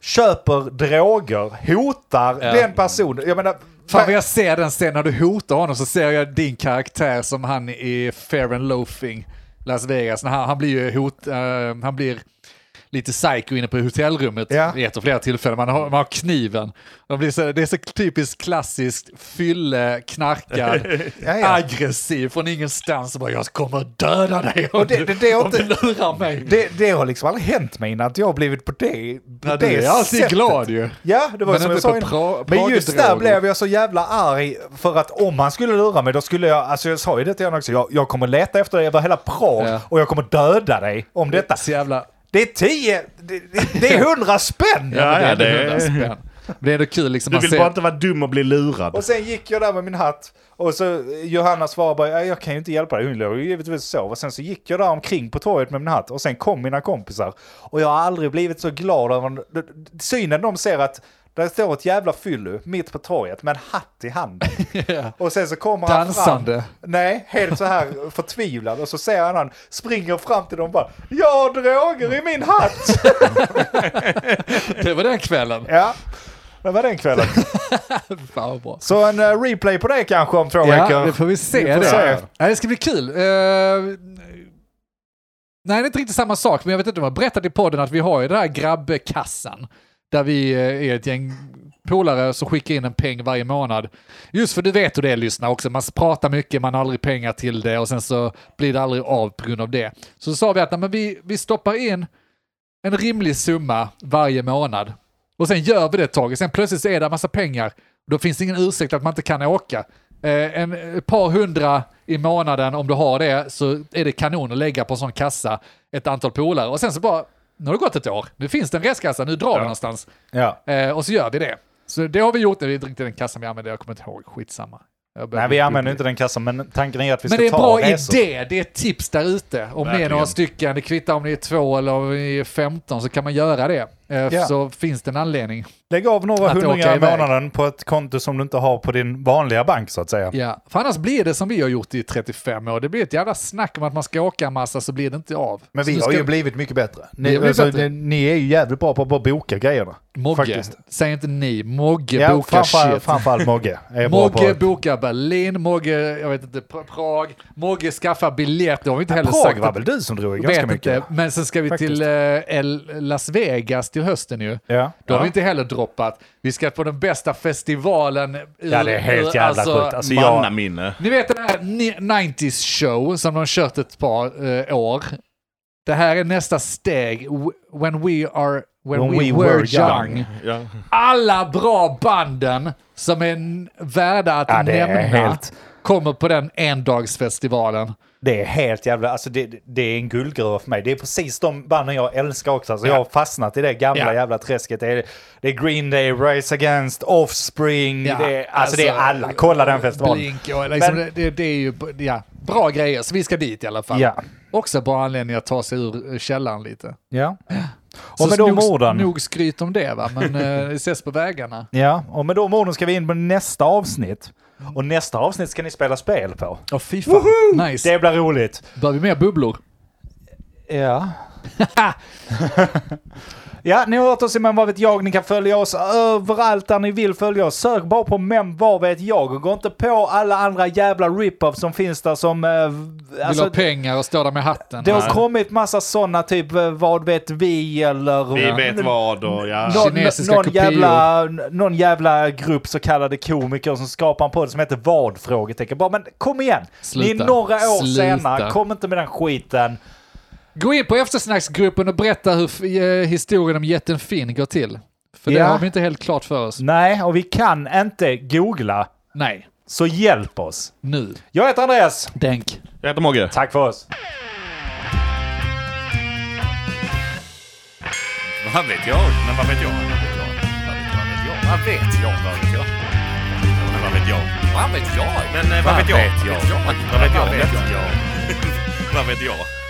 Speaker 3: köper droger, hotar
Speaker 1: Ja.
Speaker 3: den personen. Jag menar,
Speaker 1: Fan vad jag ser den sen när du hotar honom så ser jag din karaktär som han i Fair and Loafing Las Vegas. När han, han blir ju hot, eh, han blir lite psycho inne på hotellrummet
Speaker 3: Ja.
Speaker 1: i ett och flera tillfällen. Man har, man har kniven. Man blir så, det är så typiskt klassiskt fylle, knarkad,
Speaker 3: Ja, ja.
Speaker 1: aggressiv från ingenstans. Och bara, jag kommer döda dig om,
Speaker 3: Och det- det- det
Speaker 1: du,
Speaker 3: är
Speaker 1: om du
Speaker 3: inte-
Speaker 1: lurar mig.
Speaker 3: det, det har liksom aldrig hänt mig innan att jag har blivit på det, på
Speaker 1: Ja,
Speaker 3: det
Speaker 1: du är alltid
Speaker 3: sättet.
Speaker 1: glad ju.
Speaker 3: Ja, det var
Speaker 1: Men
Speaker 3: som
Speaker 1: inte
Speaker 3: jag sa
Speaker 1: på
Speaker 3: innan.
Speaker 1: pra-
Speaker 3: Men just
Speaker 1: pragdroger.
Speaker 3: där blev jag så jävla arg för att om han skulle lura mig då skulle jag, alltså jag sa ju det till honom också, jag, jag kommer leta efter dig över hela Prag
Speaker 1: Ja.
Speaker 3: och jag kommer döda dig om detta.
Speaker 1: Så jävla
Speaker 3: Det är tio, det, det, det är hundra spänn!
Speaker 2: Ja.
Speaker 1: Ja, det är
Speaker 2: det-
Speaker 1: ändå 100 spänn. Men Det är ändå kul liksom.
Speaker 2: Du
Speaker 1: man
Speaker 2: vill
Speaker 1: ser-
Speaker 2: bara inte vara dum och bli lurad.
Speaker 3: Och sen gick jag där med min hatt och så eh, Johanna svarade bara, "Ja, jag kan ju inte hjälpa dig, hon låg ju givetvis och sov. Och sen så gick jag där omkring på torget med min hatt och sen kom mina kompisar. Och jag har aldrig blivit så glad över en- synen de ser att där står ett jävla fyllo mitt på torget med en hatt i handen.
Speaker 1: Ja.
Speaker 3: Och sen så kommer han
Speaker 1: Dansande.
Speaker 3: fram. Nej, helt så här förtvivlad. Och så ser han han springer fram till dem och bara, jag har droger i min hatt!
Speaker 1: Det var den kvällen.
Speaker 3: ja, det var den kvällen.
Speaker 1: Fan vad bra.
Speaker 3: Så en eh, replay på det kanske om två
Speaker 1: Ja,
Speaker 3: veckor.
Speaker 1: det får vi se.
Speaker 3: Vi får
Speaker 1: det.
Speaker 3: se.
Speaker 1: Ja, det ska bli kul. Eh, nej, det är inte riktigt samma sak, men jag vet inte om jag har berättat i podden att vi har ju den här grabbkassan. Där vi eh, är ett gäng polare som skickar in en peng varje månad. Just för du vet hur det är lyssna också, man pratar mycket, man har aldrig pengar till det och sen så blir det aldrig av på grund av det. Så sa vi att nej, men vi, vi stoppar in en rimlig summa varje månad. Och sen gör vi det ett tag, sen plötsligt så är det en massa pengar. Då finns det ingen ursäkt att man inte kan åka. Eh, en, ett par hundra i månaden, om du har det, så är det kanon att lägga på en sån kassa ett antal polare. Och sen så bara, nu har det gått ett år, nu finns det en restkassa, nu drar vi någonstans.
Speaker 3: Ja.
Speaker 1: Eh, och så gör vi det. Så det har vi gjort, det är inte riktigt den kassan vi använder, jag kommer inte ihåg, skitsamma. Jag börjar
Speaker 3: Nej,
Speaker 1: bli
Speaker 3: vi använder
Speaker 1: bubblig.
Speaker 3: inte den kassan, men tanken är att vi ska
Speaker 1: Men det är en
Speaker 3: ta
Speaker 1: bra
Speaker 3: resor.
Speaker 1: idé, det är ett tips där ute. Om ni är
Speaker 2: Verkligen.
Speaker 1: några stycken, det kvittar om ni är två eller om ni är 15 så kan man göra det. Eh,
Speaker 3: Ja.
Speaker 1: Så finns det en anledning.
Speaker 3: Lägg av några
Speaker 1: Att åka
Speaker 3: hundringar i
Speaker 1: iväg.
Speaker 3: månaden på ett konto som du inte har på din vanliga bank så att säga.
Speaker 1: Ja. För annars blir det som vi har gjort i 35 år, det blir ett jävla snack om att man ska åka en massa så blir det inte av.
Speaker 3: Men
Speaker 1: Så
Speaker 3: vi
Speaker 1: nu
Speaker 3: har
Speaker 1: ska-
Speaker 3: ju blivit mycket bättre.
Speaker 1: Vi
Speaker 3: Ni,
Speaker 1: har blivit
Speaker 3: alltså,
Speaker 1: bättre.
Speaker 3: ni, ni är ju jävligt bra på att bara boka grejerna.
Speaker 1: Mogge,
Speaker 3: Faktiskt.
Speaker 1: säg inte ni, Mogge
Speaker 3: Ja,
Speaker 1: bokar
Speaker 3: framför,
Speaker 1: shit.
Speaker 3: framförallt Mogge. Är bra på
Speaker 1: Mogge
Speaker 3: att-
Speaker 1: bokar Berlin, Mogge, jag vet inte, Pra- Prag, Mogge skaffar biljett, det har vi inte heller
Speaker 3: Prag
Speaker 1: sagt.
Speaker 3: var
Speaker 1: att-
Speaker 3: väl du som drog i
Speaker 1: Jag
Speaker 3: ganska
Speaker 1: vet
Speaker 3: mycket?
Speaker 1: inte, men sen ska vi
Speaker 3: Faktiskt.
Speaker 1: till eh, El- Las Vegas till hösten ju.
Speaker 3: Ja.
Speaker 1: Då har
Speaker 3: Ja.
Speaker 1: vi inte heller droppat. Vi ska på den bästa festivalen. ur-
Speaker 3: Ja, det är helt
Speaker 1: ur-
Speaker 3: jävla sjukt. Alltså, jag,
Speaker 2: Mannaminne.
Speaker 1: Ni vet den här ni- 90s show som de kört ett par eh, år. Det här är nästa steg. W- When we are... When, we, were, young.
Speaker 2: Ja.
Speaker 1: Alla bra banden som är n- värda att
Speaker 3: Ja, det är
Speaker 1: nämna
Speaker 3: helt-
Speaker 1: kommer på den endagsfestivalen.
Speaker 3: det är helt jävla, alltså det, det är en guldgruva för mig. Det är precis de banden jag älskar också. Alltså, Jag har fastnat i det gamla
Speaker 1: Ja.
Speaker 3: jävla träsket. Det är, det är Green Day, Rise Against, Offspring.
Speaker 1: Ja,
Speaker 3: det är, alltså, det är alla. Kolla den festivalen.
Speaker 1: Blink och liksom,
Speaker 3: Men-
Speaker 1: det- det, det är ju ja, bra grejer, så vi ska dit i alla fall.
Speaker 3: Ja.
Speaker 1: Också bra anledning att ta sig ur eh, källaren lite.
Speaker 3: Ja.
Speaker 1: Så
Speaker 3: Och med de
Speaker 1: nog,
Speaker 3: orden.
Speaker 1: nog skryt om det va, men eh, vi ses på vägarna.
Speaker 3: Ja, och med de orden ska vi in på nästa avsnitt. Och nästa avsnitt ska ni spela spel på.
Speaker 1: Åh fy fan, nice.
Speaker 3: Det blir roligt.
Speaker 1: Bör vi mer bubblor?
Speaker 3: Ja. ja, ni har hört oss i Men vad vet jag. Ni kan följa oss överallt där ni vill följa oss. Sök bara på Men vad vet jag och gå inte på alla andra jävla rip-offs som finns där som... eh,
Speaker 1: Vill ha pengar och stå där med hatten? Alltså.
Speaker 3: det har
Speaker 1: Nej.
Speaker 3: kommit massa sådana typ eh, Vad vet vi eller...
Speaker 2: Vi vet vad och ja.
Speaker 3: Någon,
Speaker 1: Kinesiska
Speaker 3: någon,
Speaker 1: kopior.
Speaker 3: jävla, någon jävla grupp så kallade komiker som skapar en podd som heter Vad? Frågetecken. Bara, men kom igen! Ni
Speaker 1: Sluta.
Speaker 3: är några år
Speaker 1: Sluta.
Speaker 3: senare, kom inte med den skiten.
Speaker 1: Gå in på eftersnacksgruppen och berätta hur f- eh, historien om jätten Finn går till. För det
Speaker 3: Ja.
Speaker 1: har vi inte helt klart för oss.
Speaker 3: Nej, och vi kan inte googla.
Speaker 1: Nej,
Speaker 3: Så hjälp oss.
Speaker 1: nu.
Speaker 3: Jag heter Andreas.
Speaker 1: Denk.
Speaker 2: Jag heter Mogge.
Speaker 3: Tack för oss.
Speaker 4: Vad vet jag? Men vad vet jag? Vad vet jag? Vad vet jag? Vad vet jag? Men vad vet jag?
Speaker 2: eh,
Speaker 4: Vad vet jag? Men vad vet jag? Vad vet jag? Vad vet jag? Vad vet jag?